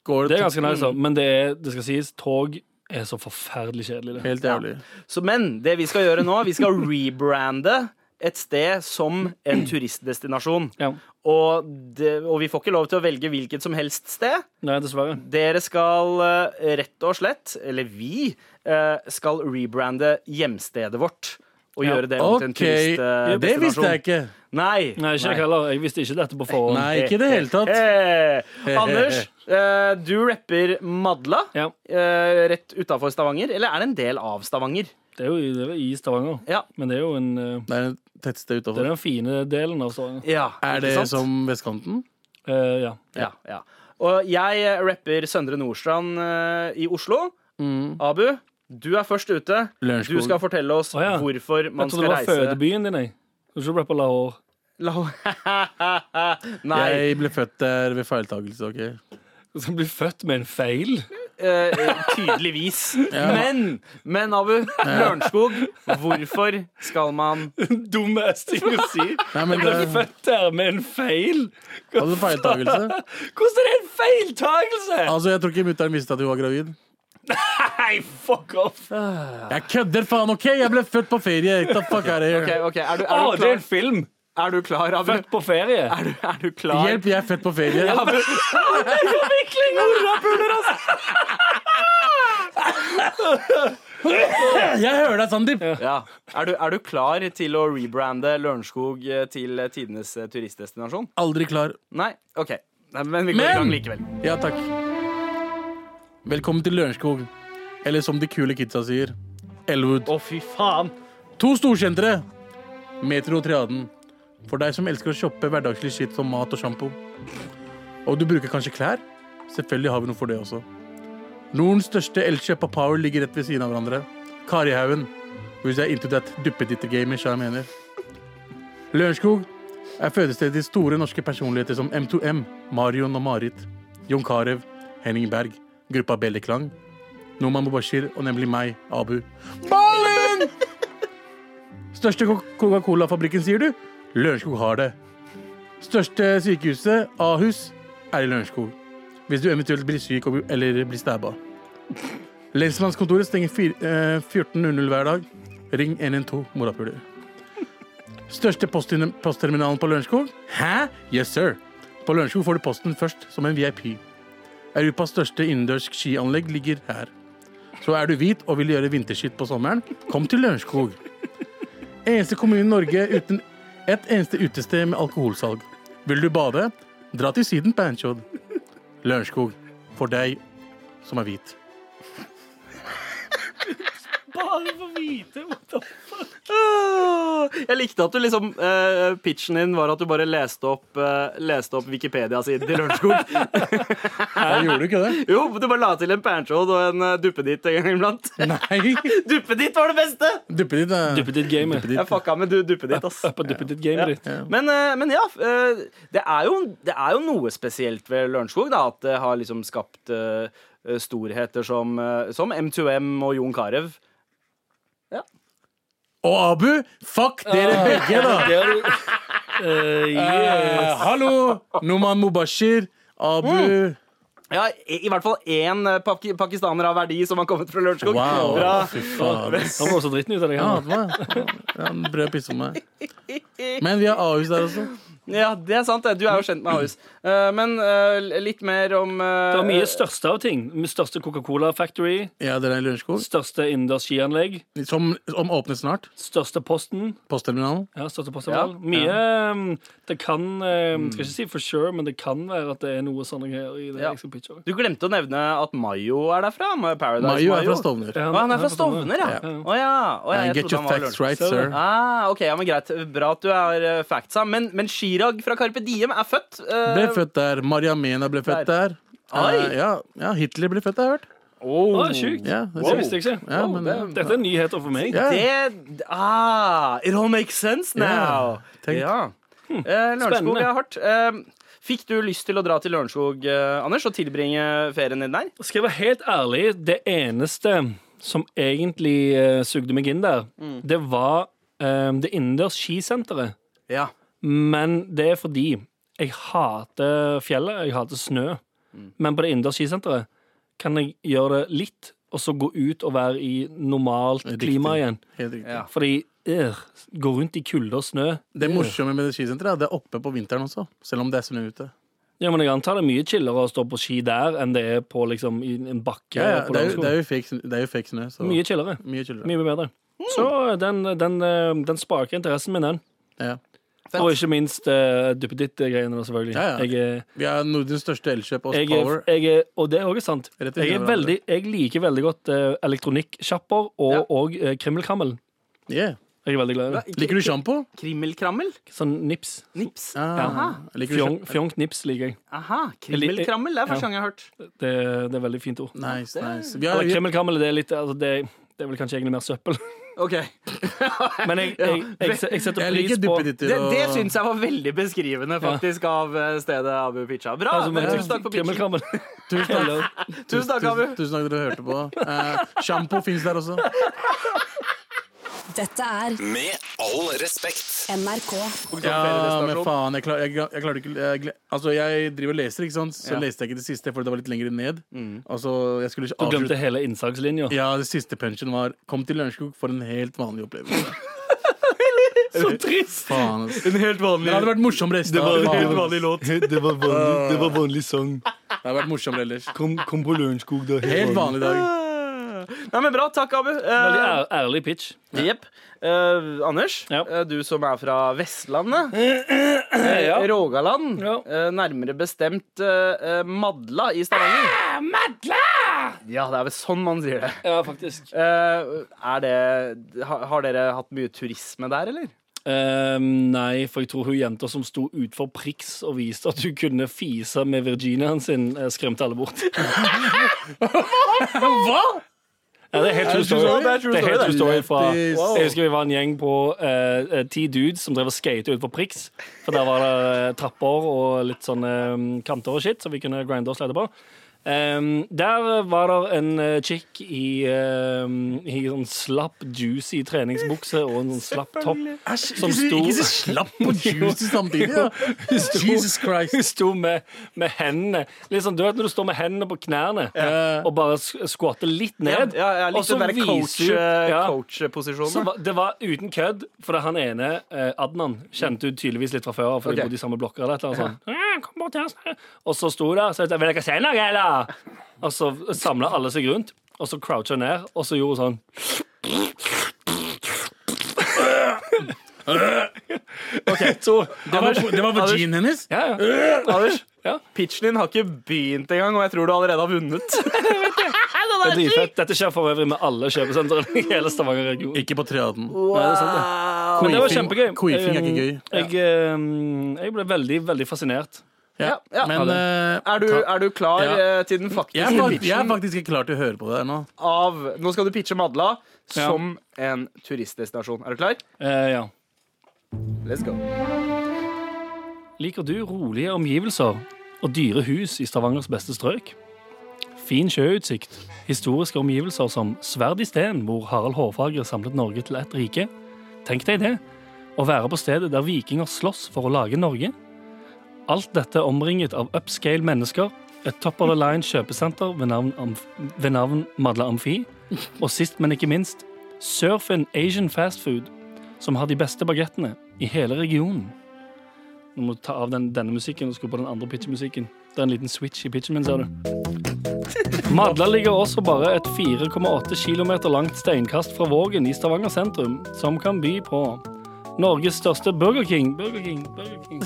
[SPEAKER 2] går
[SPEAKER 6] Det
[SPEAKER 2] det
[SPEAKER 6] er ganske nice, da. men det, er, det skal sies, tog er så forferdelig kjedelig. Det.
[SPEAKER 2] helt jævlig.
[SPEAKER 3] Så, men det vi skal gjøre nå, vi skal rebrande et sted som en turistdestinasjon.
[SPEAKER 6] Ja.
[SPEAKER 3] Og, det, og vi får ikke lov til å velge hvilket som helst sted.
[SPEAKER 6] Nei, dessverre.
[SPEAKER 3] Dere skal eh, rett og slett, eller vi, eh, skal rebrande hjemstedet vårt. Og
[SPEAKER 6] Ja.
[SPEAKER 3] gjøre det om til en
[SPEAKER 2] OK,
[SPEAKER 3] turistdestinasjon.
[SPEAKER 2] det visste jeg ikke.
[SPEAKER 3] Nei.
[SPEAKER 6] Nei, ikke jeg heller. Jeg visste ikke dette på forhånd.
[SPEAKER 2] Nei, ikke i det hele tatt.
[SPEAKER 3] Eh, Anders,
[SPEAKER 6] (laughs)
[SPEAKER 3] eh, du rapper Madla.
[SPEAKER 6] Ja,
[SPEAKER 3] eh, rett utafor Stavanger, eller er det en del av Stavanger?
[SPEAKER 6] det er jo det er jo i Stavanger,
[SPEAKER 3] Ja.
[SPEAKER 6] men det er jo en, eh,
[SPEAKER 2] Det er et tettsted
[SPEAKER 6] det er
[SPEAKER 2] utafor.
[SPEAKER 6] den fine delen av Stavanger.
[SPEAKER 3] ja
[SPEAKER 2] Er
[SPEAKER 3] ikke
[SPEAKER 2] det
[SPEAKER 3] sant?
[SPEAKER 2] som vestkanten?
[SPEAKER 6] Eh, ja.
[SPEAKER 3] ja, ja. Og jeg eh, rapper Søndre Nordstrand eh, i Oslo.
[SPEAKER 6] Mm.
[SPEAKER 3] Abu, du er først ute.
[SPEAKER 2] Lørenskog.
[SPEAKER 3] Du skal fortelle oss
[SPEAKER 6] Å, ja.
[SPEAKER 3] hvorfor man
[SPEAKER 6] Jeg trodde
[SPEAKER 3] skal
[SPEAKER 6] det var
[SPEAKER 3] reise
[SPEAKER 6] fødebyen din, jeg. Du skal rappe Lahore.
[SPEAKER 3] La- (laughs) Nei.
[SPEAKER 2] Jeg ble født der ved feiltagelse. ok?
[SPEAKER 6] Du skal bli født med en feil. (laughs)
[SPEAKER 3] Eh, (laughs) tydeligvis. Men, men Abu, Lørenskog, hvorfor skal man
[SPEAKER 6] Dummeste jeg kunne
[SPEAKER 3] (laughs)
[SPEAKER 6] si.
[SPEAKER 2] Nei, men
[SPEAKER 6] Jeg
[SPEAKER 2] eh,
[SPEAKER 6] ble
[SPEAKER 2] det-
[SPEAKER 6] født der med en feil.
[SPEAKER 2] Hadde feiltagelse.
[SPEAKER 6] Hvordan er det en feiltagelse?
[SPEAKER 3] Ah.
[SPEAKER 2] Altså, Jeg tror ikke mutter'n visste at hun var gravid.
[SPEAKER 6] Nei, fuck off! Å,
[SPEAKER 2] Jeg kødder, faen! ok? Jeg ble født på ferie! Get the fuck out of
[SPEAKER 3] Ok,
[SPEAKER 2] here.
[SPEAKER 3] ok, er, du, er, du
[SPEAKER 6] Ah, det er
[SPEAKER 3] klar,
[SPEAKER 6] en film!
[SPEAKER 3] er du klar, Abu?
[SPEAKER 6] Født på
[SPEAKER 3] (laughs)
[SPEAKER 6] ferie.
[SPEAKER 3] Er du, er du klar?
[SPEAKER 2] Hjelp, jeg er født på ferie.
[SPEAKER 3] Abu,
[SPEAKER 6] Forvikling, horapuler, ass!
[SPEAKER 2] Jeg hører deg, Sandeep!
[SPEAKER 3] Ja. Er, du, er du klar til å rebrande Lørenskog eh, til eh, tidenes eh, turistdestinasjon?
[SPEAKER 2] Aldri klar.
[SPEAKER 3] Nei? OK. Nei, men vi går i
[SPEAKER 2] Men-
[SPEAKER 3] gang likevel.
[SPEAKER 2] Ja, takk. Velkommen til Lørenskog. Eller som de kule kidsa sier, Elwood.
[SPEAKER 3] Å, fy faen!
[SPEAKER 2] To storsentre. Metro og Triaden. For deg som elsker å shoppe hverdagslig skitt som mat og sjampo. Og du bruker kanskje klær? Selvfølgelig har vi noe for det også. Nordens største elkjøp av power ligger rett ved siden av hverandre. Karihaugen. Hvis jeg er into that duppeditter-gamer, så jeg mener. Lørenskog er fødestedet til store norske personligheter som M2M, Marion og Marit, Jon Carew, Henning Berg, gruppa Belleklang, Noman Mubashir og nemlig meg, Abu. Ballen! Største Co- Coca-Cola-fabrikken, sier du? Lørenskog har det. Største sykehuset, Ahus, er i Lørenskog. Hvis du eventuelt blir syk og, eller blir stabba. Lensmannskontoret stenger fir- eh, 14.00 hver dag. Ring 112, morapuler. Største posttermin- postterminalen på Lørenskog? Hæ? Yes, sir. På Lørenskog får du posten først som en VIP. Europas største innendørs skianlegg ligger her. Så er du hvit og vil gjøre vinterskitt på sommeren, kom til Lørenskog. Eneste kommune i Norge uten et eneste utested med alkoholsalg. Vil du bade? Dra til Syden, Panchod. Lørenskog. For deg som er hvit.
[SPEAKER 6] Bare for hvite!
[SPEAKER 3] Åh, Ah, Jeg likte at du liksom eh, Pitchen din var at du bare leste opp eh, Leste opp Wikipedia-siden til (laughs) Lørenskog.
[SPEAKER 2] Jeg gjorde ikke det.
[SPEAKER 3] Jo, du bare la til en panchod og en eh, duppeditt en gang iblant. (laughs)
[SPEAKER 2] Nei.
[SPEAKER 3] Duppeditt var det beste!
[SPEAKER 2] Duppeditt er
[SPEAKER 6] Duppeditt-gamet.
[SPEAKER 3] Jeg fucka med du duppeditt,
[SPEAKER 6] (laughs)
[SPEAKER 3] ass.
[SPEAKER 6] Up og duppeditt-gamet ditt.
[SPEAKER 2] Ja.
[SPEAKER 3] Men, eh, men ja, eh, det er, jo, det er jo noe spesielt ved Lørenskog, da. At det har liksom skapt eh, storheter som, eh, som M2M og Jon Carew.
[SPEAKER 2] Og Abu, fuck dere begge, da.
[SPEAKER 6] Der, (laughs) eh, yeah.
[SPEAKER 2] Eh, hallo! Noman Mubashir, Abu
[SPEAKER 3] Ja, i, i hvert fall én eh, paki pakistaner av verdi som har kommet fra Lørenskog.
[SPEAKER 2] Wow.
[SPEAKER 3] Bra.
[SPEAKER 2] Fy faen.
[SPEAKER 6] Han var også dritten ut av deg.
[SPEAKER 2] Ja,
[SPEAKER 6] han.
[SPEAKER 2] det var- ja, han brød pisse på meg. Men vi har Ahus der også.
[SPEAKER 3] Ja, det er sant. det. Du er jo kjent med Ahus. Eh, men eh, litt mer om eh,
[SPEAKER 6] Det var mye største av ting. Største Coca-Cola Factory,
[SPEAKER 2] Ja, dere er i Lørenskog.
[SPEAKER 6] største innendørs skianlegg,
[SPEAKER 2] Som, som åpner snart.
[SPEAKER 6] største Posten.
[SPEAKER 2] Postterminalen.
[SPEAKER 6] Ja, største postterminal. Mye ehm, Det kan ehm, Skal ikke si for sure, men det kan være at det er noe sånne greier i det
[SPEAKER 3] Mm. Ja.
[SPEAKER 6] jeg skal pitche.
[SPEAKER 3] Du glemte å nevne at Mayo er derfra. Ma- Paradise
[SPEAKER 2] Mayo er fra Stovner.
[SPEAKER 3] Å, han er fra Stovner, ja. Å
[SPEAKER 6] Ja.
[SPEAKER 3] ja. Å, ja.
[SPEAKER 2] And
[SPEAKER 3] Jeg
[SPEAKER 2] Get
[SPEAKER 3] trodde
[SPEAKER 2] your
[SPEAKER 3] han var
[SPEAKER 2] facts
[SPEAKER 3] Lørenskog.
[SPEAKER 2] right, sir.
[SPEAKER 3] Ah, ok, ja, men Greit. Bra at du er eh, factsa. Men, men Chirag fra Carpe Diem er født. eh,
[SPEAKER 2] Ble født der. Maria Mena ble født der.
[SPEAKER 3] Oi.
[SPEAKER 2] Eh, ja, ja, Hitler ble født der, har jeg hørt.
[SPEAKER 3] oh.
[SPEAKER 6] Å, sjukt.
[SPEAKER 2] Ja, det
[SPEAKER 6] Det
[SPEAKER 2] sier-
[SPEAKER 6] visste jeg ikke.
[SPEAKER 2] ja, men, ja.
[SPEAKER 6] Dette er nyheter for meg.
[SPEAKER 2] Ja.
[SPEAKER 3] Det ah, It all makes sense now.
[SPEAKER 2] Ja, tenk.
[SPEAKER 3] Ja. Eh, Lørenskog
[SPEAKER 6] spennende.
[SPEAKER 3] er hardt. Eh, fikk du lyst til å dra til Lørenskog, eh, Anders, og tilbringe ferien din der?
[SPEAKER 6] Skal jeg være helt ærlig, det eneste som egentlig eh, sugde meg inn der,
[SPEAKER 3] Mm.
[SPEAKER 6] det var ehm, det innendørs skisenteret.
[SPEAKER 3] Ja.
[SPEAKER 6] Men det er fordi jeg hater fjellet, jeg hater snø.
[SPEAKER 2] Mm.
[SPEAKER 6] Men på det innendørs skisenteret kan jeg gjøre det litt, og så gå ut og være i normalt
[SPEAKER 2] Riktig.
[SPEAKER 6] klima igjen.
[SPEAKER 2] Helt riktig.
[SPEAKER 3] Ja.
[SPEAKER 6] Fordi øh, gå rundt i kulde og snø
[SPEAKER 2] Det morsomme med det skisenteret er at det er oppe på vinteren også. Selv om det er snø ute.
[SPEAKER 6] Ja, men jeg antar det er mye chillere å stå på ski der enn det er på liksom, i en bakke.
[SPEAKER 2] Ja, ja,
[SPEAKER 6] på
[SPEAKER 2] det, er jo,
[SPEAKER 6] Lørenskog.
[SPEAKER 2] det, er jo fake, sn- det er jo fake snø. Så
[SPEAKER 6] Mye chillere.
[SPEAKER 2] mye chillere. Mm.
[SPEAKER 6] Mye bedre. Så øh, den, den, eh, den sparker interessen min, den.
[SPEAKER 2] Ja.
[SPEAKER 6] Og ikke minst uh, duppeditt-greiene, da, selvfølgelig.
[SPEAKER 2] Ja, ja.
[SPEAKER 6] Jeg er
[SPEAKER 2] Vi er Nordens største elkjøp og
[SPEAKER 6] jeg er,
[SPEAKER 2] Power.
[SPEAKER 6] jeg er, og det er også sant.
[SPEAKER 2] Rett i
[SPEAKER 6] Jeg, er
[SPEAKER 2] hverandre.
[SPEAKER 6] veldig, jeg liker veldig godt uh, elektronikksjapper og,
[SPEAKER 3] Ja.
[SPEAKER 6] og eh, krimmelkrammel.
[SPEAKER 2] Yeah.
[SPEAKER 6] Jeg er veldig glad i det.
[SPEAKER 2] Liker du sjampo?
[SPEAKER 3] Krimmelkrammel?
[SPEAKER 6] Sånn nips.
[SPEAKER 3] Nips?
[SPEAKER 2] Ah, liker du
[SPEAKER 6] Fjong,
[SPEAKER 2] sjampo?
[SPEAKER 6] fjongt nips liker jeg.
[SPEAKER 3] Aha, Krimmelkrammel? Det er første gang jeg har hørt.
[SPEAKER 6] Det, det er veldig fint ord.
[SPEAKER 2] Nice, nice. Vi
[SPEAKER 6] Eller
[SPEAKER 2] har, vi,
[SPEAKER 6] Krimmelkrammel det er litt altså, det, det er vel kanskje egentlig mer søppel.
[SPEAKER 3] Ok
[SPEAKER 6] Men jeg, jeg, jeg, jeg, setter
[SPEAKER 2] jeg
[SPEAKER 6] pris
[SPEAKER 2] liker
[SPEAKER 6] på
[SPEAKER 2] duppeditter
[SPEAKER 3] Det,
[SPEAKER 2] og
[SPEAKER 3] det syns jeg var veldig beskrivende faktisk av eh, stedet Abu pitcha. Bra!
[SPEAKER 6] altså,
[SPEAKER 3] men, tusen takk for pitchen.
[SPEAKER 6] Krimmelkrammel.
[SPEAKER 2] Tusen takk.
[SPEAKER 3] Tusen takk, Abu.
[SPEAKER 2] Tusen, tusen takk dere hørte på. Eh, Sjampo fins der også.
[SPEAKER 1] Dette er
[SPEAKER 5] Med all respekt.
[SPEAKER 1] NRK.
[SPEAKER 2] Ja, men
[SPEAKER 3] Feriedestinasjon.
[SPEAKER 2] faen, jeg, klar, jeg, jeg klarte ikke jeg, gle- Altså, jeg driver og leser, ikke sant? Så
[SPEAKER 3] Ja.
[SPEAKER 2] leste jeg ikke det siste, for det var litt lenger ned. Altså, jeg skulle ikke
[SPEAKER 6] Du glemte
[SPEAKER 2] avslutte
[SPEAKER 6] hele innsagslinja.
[SPEAKER 2] Ja, det siste punchen var 'Kom til Lørenskog for en helt vanlig opplevelse'.
[SPEAKER 6] Så trist!
[SPEAKER 2] Faen, ass.
[SPEAKER 3] En helt vanlig
[SPEAKER 2] Det hadde vært morsom resten av
[SPEAKER 3] en
[SPEAKER 2] faen,
[SPEAKER 3] helt
[SPEAKER 2] ass.
[SPEAKER 3] vanlig låt.
[SPEAKER 4] Det var vanlig, det var vanlig sang.
[SPEAKER 2] Det hadde vært morsommere ellers.
[SPEAKER 4] Kom, kom på Lørenskog, da.
[SPEAKER 2] Helt vanlig dag.
[SPEAKER 3] Nei, men bra. Takk, Abu. Eh,
[SPEAKER 6] Veldig ær, ærlig pitch.
[SPEAKER 3] Jepp. Eh, Anders,
[SPEAKER 6] Ja.
[SPEAKER 3] eh, du som er fra
[SPEAKER 6] (clears throat)
[SPEAKER 3] Vestlandet,
[SPEAKER 6] Eh, ja.
[SPEAKER 3] Rogaland,
[SPEAKER 6] Ja.
[SPEAKER 3] eh, nærmere bestemt eh, eh, Madla i Stavanger.
[SPEAKER 6] Ah,
[SPEAKER 3] Madla! Ja, det er vel sånn man sier det.
[SPEAKER 6] Ja, faktisk.
[SPEAKER 3] Eh, er det ha- Har dere hatt mye turisme der, eller?
[SPEAKER 6] Ehm, nei, for jeg tror hun jenta som sto utfor Prix og viste at hun kunne fise med virginaen sin, eh, skremte alle bort.
[SPEAKER 2] Hva?!
[SPEAKER 6] Ja, det er helt true story.
[SPEAKER 3] story? Det er true
[SPEAKER 6] Det er helt
[SPEAKER 3] story,
[SPEAKER 6] true
[SPEAKER 3] det.
[SPEAKER 6] story fra
[SPEAKER 2] Lættis.
[SPEAKER 6] Jeg husker vi var en gjeng på eh, eh, ti dudes som drev og skate utfor Prix. For der var det eh, trapper og litt sånne eh, kanter og shit som vi kunne grinde og slide på. Ehm, der var det en eh, chick i, eh, i sånn slapp, juicy treningsbukse og en sånn slapp topp.
[SPEAKER 2] Æsj,
[SPEAKER 6] Som
[SPEAKER 2] ikke, si-
[SPEAKER 6] sto-
[SPEAKER 2] ikke si slapp og juicy samtidig. (laughs) Ja. Jesus
[SPEAKER 6] (laughs)
[SPEAKER 2] Christ.
[SPEAKER 6] Hun sto med, med hendene Litt sånn, Du vet når du står med hendene på knærne og bare sk- skvatter litt
[SPEAKER 3] Ja,
[SPEAKER 6] ned,
[SPEAKER 3] ja, jeg
[SPEAKER 6] og
[SPEAKER 3] likte den
[SPEAKER 6] så
[SPEAKER 3] der eh,
[SPEAKER 6] viser hun- ja, Så
[SPEAKER 3] coach-posisjonen.
[SPEAKER 6] va- det var uten kødd, for han ene, eh, Adnan, kjente hun tydeligvis litt fra før av, for de
[SPEAKER 3] Ok.
[SPEAKER 6] bodde i samme blokker eller et eller annet sånt. «Ja, Kom bort her, snakk». Og så sto hun der, så jeg sa, vil dere se noe, eller? Og så samla alle seg rundt, og så croucha hun ned, og så gjorde hun sånn. sånn.
[SPEAKER 3] (laughs)
[SPEAKER 6] (laughs) OK, to.
[SPEAKER 2] Det var, det var vaginen hennes?
[SPEAKER 6] Ja, ja.
[SPEAKER 3] Anders, (laughs)
[SPEAKER 6] Ja.
[SPEAKER 3] pitchen din har ikke begynt engang, og jeg tror du allerede har vunnet.
[SPEAKER 6] Det er dritfett. Dette skjer for øvrig med alle kjøpesentrene i hele Stavanger-regionen.
[SPEAKER 2] Ikke på triaden.
[SPEAKER 6] Nei, det er sant, det. Men det var
[SPEAKER 2] Queefing-
[SPEAKER 6] kjempegøy.
[SPEAKER 2] Queefing er ikke gøy.
[SPEAKER 6] Jeg, eh, jeg ble veldig, veldig fascinert.
[SPEAKER 2] Ja.
[SPEAKER 3] ja.
[SPEAKER 2] Men eh,
[SPEAKER 3] Er du,
[SPEAKER 2] ta-
[SPEAKER 3] er du klar
[SPEAKER 2] Ja.
[SPEAKER 3] eh, til den faktiske
[SPEAKER 2] jeg, er fakt- jeg er
[SPEAKER 3] pitchen
[SPEAKER 2] faktisk ikke klar til å høre på det her nå.
[SPEAKER 3] av Nå skal du pitche Madla som en turistdestinasjon. Er du klar?
[SPEAKER 6] Eh, ja.
[SPEAKER 3] Let's go.
[SPEAKER 6] Liker du rolige omgivelser og dyre hus i Stavangers beste strøk? Fin sjøutsikt, historiske omgivelser som sverd i sten, hvor Harald Hårfager samlet Norge til ett rike. Tenk deg det, å være på stedet der vikinger slåss for å lage Norge. Alt dette omringet av upscale mennesker, et top of the line kjøpesenter ved navn, Amf ved navn Madla Amfi, og sist, men ikke minst, Surfin Asian Fast Food, som har de beste bagettene i hele regionen. Nå må du ta av den, denne musikken og skru på den andre pitchmusikken. Det er en liten switch i pitchen min, ser du. Madla ligger også bare et 4,8 km langt steinkast fra Vågen i Stavanger sentrum, som kan by på Norges største Burger King, Burger King, Burger King.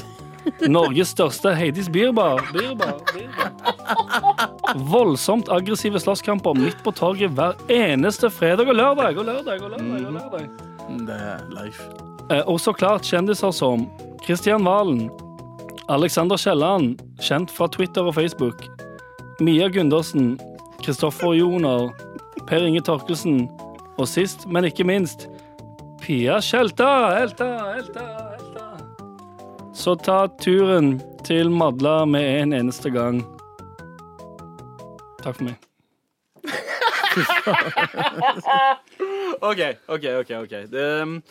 [SPEAKER 6] Norges største Heidis Beer Bar, Beer Bar, Beer Bar. Voldsomt aggressive slåsskamper midt på torget hver eneste fredag og lørdag og lørdag og lørdag. Og lørdag.
[SPEAKER 2] Mm, Det er Leif.
[SPEAKER 6] Eh, Og så klart kjendiser som Kristian Valen, Alexander Kielland, kjent fra Twitter og Facebook, Mia Gundersen, Kristoffer Joner, Per Inge Torkelsen, og sist, men ikke minst, Pia Tjelta! Helta, helta, helta. Så ta turen til Madla med en eneste gang. Takk for meg.
[SPEAKER 3] OK, OK, OK. ok Det-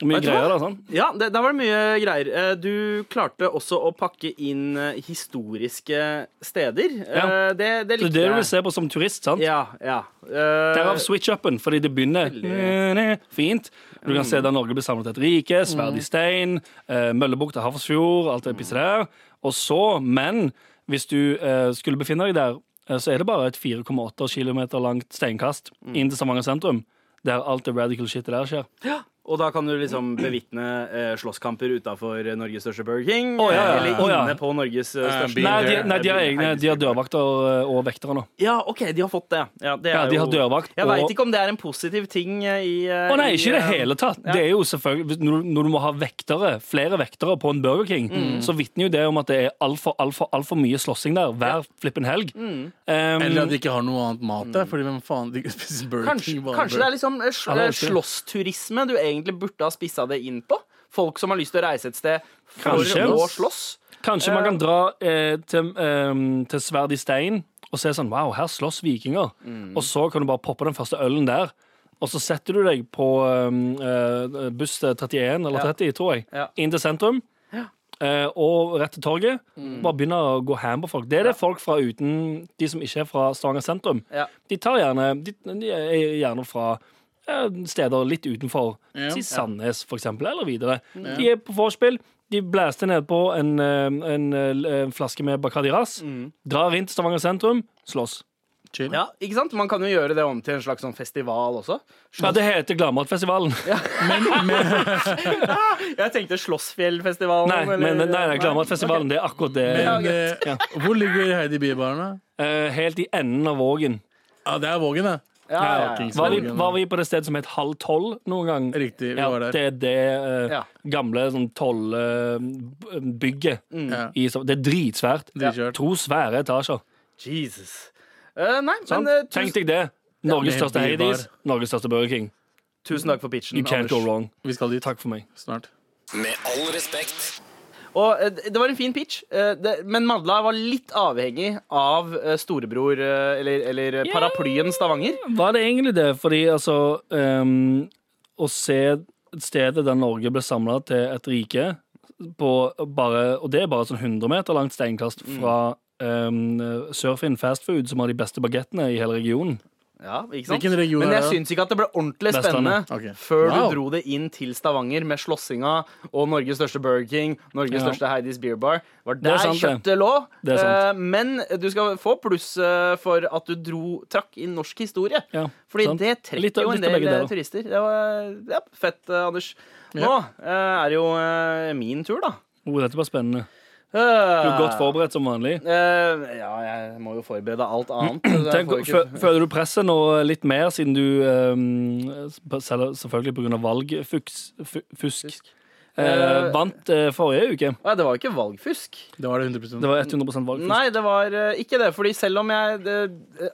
[SPEAKER 6] Mye
[SPEAKER 3] Vet du hva?
[SPEAKER 6] greier, da. sånn.
[SPEAKER 3] Ja, det, der var det mye greier. Eh, Du klarte også å pakke inn eh, historiske steder.
[SPEAKER 6] Ja.
[SPEAKER 3] Eh, Det, det
[SPEAKER 6] Det
[SPEAKER 3] likte
[SPEAKER 6] er det du vil
[SPEAKER 3] jeg.
[SPEAKER 6] se på som turist, sant?
[SPEAKER 3] Ja, ja. Eh,
[SPEAKER 6] Derav switch-upen, fordi det begynner fint. Du kan se der Norge blir samlet til et rike, sverd i stein, eh, Møllebukta, Havsfjord, alt det pisset der. Og så, men hvis du eh, skulle befinne deg der, eh, så er det bare et 4,8 km langt steinkast inn til Stavanger sentrum, der alt det radical shitet der skjer.
[SPEAKER 3] Og da kan du liksom bevitne eh, slåsskamper utafor Norges største Burger King. eh,
[SPEAKER 6] Å, ja, ja.
[SPEAKER 3] Eller
[SPEAKER 6] Å, ja.
[SPEAKER 3] inne på Norges eh,
[SPEAKER 2] Eh,
[SPEAKER 3] største
[SPEAKER 2] Been
[SPEAKER 6] Nei, de,
[SPEAKER 2] there,
[SPEAKER 6] nei, de har egne de har dørvakter eh, og vektere nå.
[SPEAKER 3] Ja, OK, de har fått det. Ja, det
[SPEAKER 6] Ja,
[SPEAKER 3] er
[SPEAKER 6] de har
[SPEAKER 3] jo-
[SPEAKER 6] dørvakt
[SPEAKER 3] Jeg
[SPEAKER 6] og-
[SPEAKER 3] veit ikke om det er en positiv ting eh, i eh,
[SPEAKER 6] Å nei, ikke i det hele tatt. Det er jo selvfølgelig, hvis- når, når du må ha vektere, flere vektere på en Burger King, så vitner jo det om at det er altfor altfor, altfor mye slåssing der hver flippen helg. Um,
[SPEAKER 2] Eller at de ikke har noe annet mat der, fordi hvem faen de spiser Burger
[SPEAKER 3] Mm. Kanskje,
[SPEAKER 2] King? bare
[SPEAKER 3] kanskje det
[SPEAKER 2] Burger
[SPEAKER 3] er liksom eh, sl-
[SPEAKER 6] Ja, det
[SPEAKER 3] eh,
[SPEAKER 6] er riktig.
[SPEAKER 3] slåssturisme du egentlig burde ha spissa det inn på? Folk som har lyst til å reise et sted for
[SPEAKER 6] Kanskje.
[SPEAKER 3] å slåss?
[SPEAKER 6] kanskje man kan dra eh, til, um, til Sverd i stein og se sånn Wow, her slåss vikinger.
[SPEAKER 3] Mm.
[SPEAKER 6] Og så kan du bare poppe den første ølen der. Og så setter du deg på um, eh, buss til 31 eller 30, tror jeg,
[SPEAKER 3] Ja.
[SPEAKER 6] inn til sentrum. eh, og rett til torget.
[SPEAKER 3] Mm.
[SPEAKER 6] Bare begynner å gå ham på folk. Det er det folk fra uten De som ikke er fra Stavanger sentrum.
[SPEAKER 3] Ja.
[SPEAKER 6] De, tar gjerne, de, de er gjerne fra eh, steder litt utenfor. Si Sandnes, for eksempel, eller videre. De er på vorspiel. De blæster nedpå en, eh, en, eh, en flaske med Bacardi Ras, drar inn til Stavanger sentrum, slåss.
[SPEAKER 2] King. Chill.
[SPEAKER 3] Ja, ikke sant? Man kan jo gjøre det om til en slags sånn festival også.
[SPEAKER 6] Ja, det heter Gladmatfestivalen.
[SPEAKER 3] Jeg tenkte Slåssfjellfestivalen.
[SPEAKER 6] (laughs) Nei, men,
[SPEAKER 3] eh,
[SPEAKER 6] nei, nei Gladmatfestivalen, det er akkurat det.
[SPEAKER 2] Men eh, hvor ligger Heidi Bie-baren, da?
[SPEAKER 6] Eh, helt i enden av Vågen.
[SPEAKER 2] Ja, det er Vågen, det.
[SPEAKER 3] Ja, ja, ja.
[SPEAKER 2] Fuckings
[SPEAKER 6] Var vi,
[SPEAKER 2] Bergen.
[SPEAKER 6] var vi på det stedet som het halv tolv noen gang?
[SPEAKER 2] Riktig, vi
[SPEAKER 6] ja,
[SPEAKER 2] var der.
[SPEAKER 6] Det er det eh,
[SPEAKER 3] Ja.
[SPEAKER 6] gamle sånn eh, tollbygget.
[SPEAKER 2] Ja.
[SPEAKER 6] Det er dritsvært.
[SPEAKER 2] Dritkjørt.
[SPEAKER 6] To svære etasjer.
[SPEAKER 3] Jesus. Eh, nei,
[SPEAKER 6] Sant?
[SPEAKER 3] men eh,
[SPEAKER 6] Tenk
[SPEAKER 3] tusen,
[SPEAKER 6] deg det. Norges
[SPEAKER 2] Med
[SPEAKER 6] største
[SPEAKER 2] bybar.
[SPEAKER 6] Hades, Norges største Burger King.
[SPEAKER 3] tusen takk for pitchen.
[SPEAKER 6] You can't
[SPEAKER 3] Anders.
[SPEAKER 6] go wrong.
[SPEAKER 2] Vi skal dit
[SPEAKER 6] Takk for meg.
[SPEAKER 2] snart.
[SPEAKER 5] Med all respekt.
[SPEAKER 3] Og eh, det var en fin pitch, eh, det, men Madla var litt avhengig av eh, storebror eh, eller, eller eh, paraplyen Stavanger.
[SPEAKER 6] Var det egentlig det? Fordi altså ehm, Å se stedet der Norge ble samla til et rike på bare, Og det er bare sånn 100 meter langt steinkast
[SPEAKER 3] Mm.
[SPEAKER 6] fra ehm, Surfin fast food, som har de beste bagettene i hele regionen.
[SPEAKER 3] Ja, ikke sant?
[SPEAKER 2] Hvilken region
[SPEAKER 3] Men
[SPEAKER 2] er
[SPEAKER 3] jeg
[SPEAKER 2] det?
[SPEAKER 3] syns ikke at det ble ordentlig spennende
[SPEAKER 6] Vestlandet.
[SPEAKER 2] Ok.
[SPEAKER 3] før
[SPEAKER 2] Wow.
[SPEAKER 3] du dro det inn til Stavanger med slåssinga og Norges største Burger King, Norges
[SPEAKER 6] Ja.
[SPEAKER 3] største Heidis Beer Bar. Var
[SPEAKER 6] er
[SPEAKER 3] der
[SPEAKER 6] sant, det.
[SPEAKER 3] kjøttet lå.
[SPEAKER 6] Det er
[SPEAKER 3] Eh,
[SPEAKER 6] sant.
[SPEAKER 3] Men du skal få pluss eh, for at du dro, trakk inn norsk historie.
[SPEAKER 6] Ja,
[SPEAKER 3] Fordi
[SPEAKER 6] sant.
[SPEAKER 3] det trekker
[SPEAKER 6] Litt av-
[SPEAKER 3] jo en
[SPEAKER 6] litt av
[SPEAKER 3] del
[SPEAKER 6] begge
[SPEAKER 3] eh,
[SPEAKER 6] deler.
[SPEAKER 3] turister. Det var ja, fett, eh, Anders. Nå eh, er det jo eh, min tur, da.
[SPEAKER 6] Oh, dette var spennende. Du
[SPEAKER 3] Uh,
[SPEAKER 6] er godt forberedt som vanlig.
[SPEAKER 3] øh, ja, jeg må jo forberede alt annet. så jeg
[SPEAKER 6] Tenk,
[SPEAKER 3] får jo ikke-
[SPEAKER 6] fø- føler du presset nå litt mer, siden du ehm, selv- Selvfølgelig pga. valgfusk fu- fusk, eh,
[SPEAKER 3] Eh,
[SPEAKER 6] vant eh, forrige uke.
[SPEAKER 3] Nei, det var jo ikke valgfusk.
[SPEAKER 2] Det var det 100
[SPEAKER 6] Det var 100 valgfusk.
[SPEAKER 3] Nei, det var eh, ikke det. Fordi selv om jeg eh,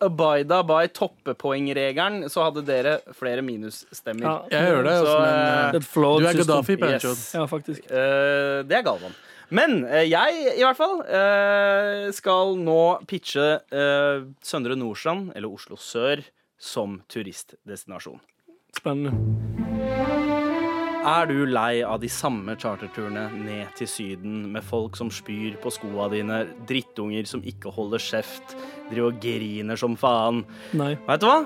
[SPEAKER 3] abida by toppepoengregelen, så hadde dere flere minusstemmer.
[SPEAKER 6] Ja,
[SPEAKER 2] Jeg hører det,
[SPEAKER 3] Så,
[SPEAKER 2] altså, men
[SPEAKER 3] eh,
[SPEAKER 2] eh,
[SPEAKER 6] Et flawed
[SPEAKER 2] Du er
[SPEAKER 6] system.
[SPEAKER 2] Gaddafi, Pancho.
[SPEAKER 3] Yes.
[SPEAKER 6] Ja, faktisk.
[SPEAKER 3] Eh, det er Galvan. Men eh, jeg, i hvert fall, eh, skal nå pitche eh, Søndre Nordstrand, eller Oslo sør, som turistdestinasjon.
[SPEAKER 6] Spennende.
[SPEAKER 3] Er du lei av de samme charterturene ned til Syden med folk som spyr på skoa dine, drittunger som ikke holder kjeft, driver og griner som faen?
[SPEAKER 6] Nei.
[SPEAKER 3] Vet du hva?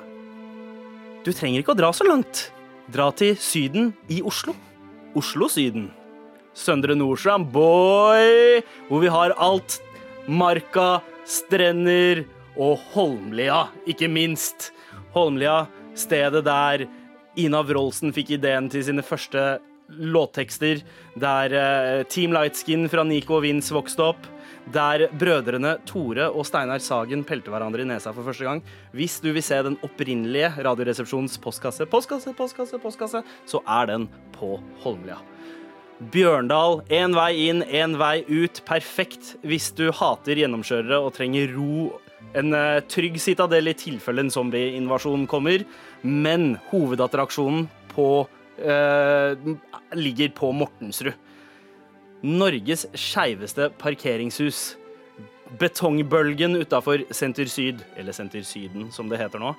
[SPEAKER 3] Du trenger ikke å dra så langt. Dra til Syden i Oslo. Oslo-Syden. Søndre Nordstrand, boy! Hvor vi har alt. Marka, strender og Holmlia, ikke minst. Holmlia, stedet der Ina Wroldsen fikk ideen til sine første låttekster. Der eh, Team Lightskin fra Nico og Vince vokste opp. Der brødrene Tore og Steinar Sagen pelte hverandre i nesa for første gang. Hvis du vil se den opprinnelige Radioresepsjonens postkasse, postkasse, postkasse, postkasse, så er den på Holmlia. Bjørndal, én vei inn, én vei ut. Perfekt hvis du hater gjennomkjørere og trenger ro. En eh, trygg citadell i tilfelle en zombieinvasjon kommer. Men hovedattraksjonen på, eh, ligger på Mortensrud. Norges skeiveste parkeringshus. Betongbølgen utafor Senter Syd, eller Senter Syden som det heter nå.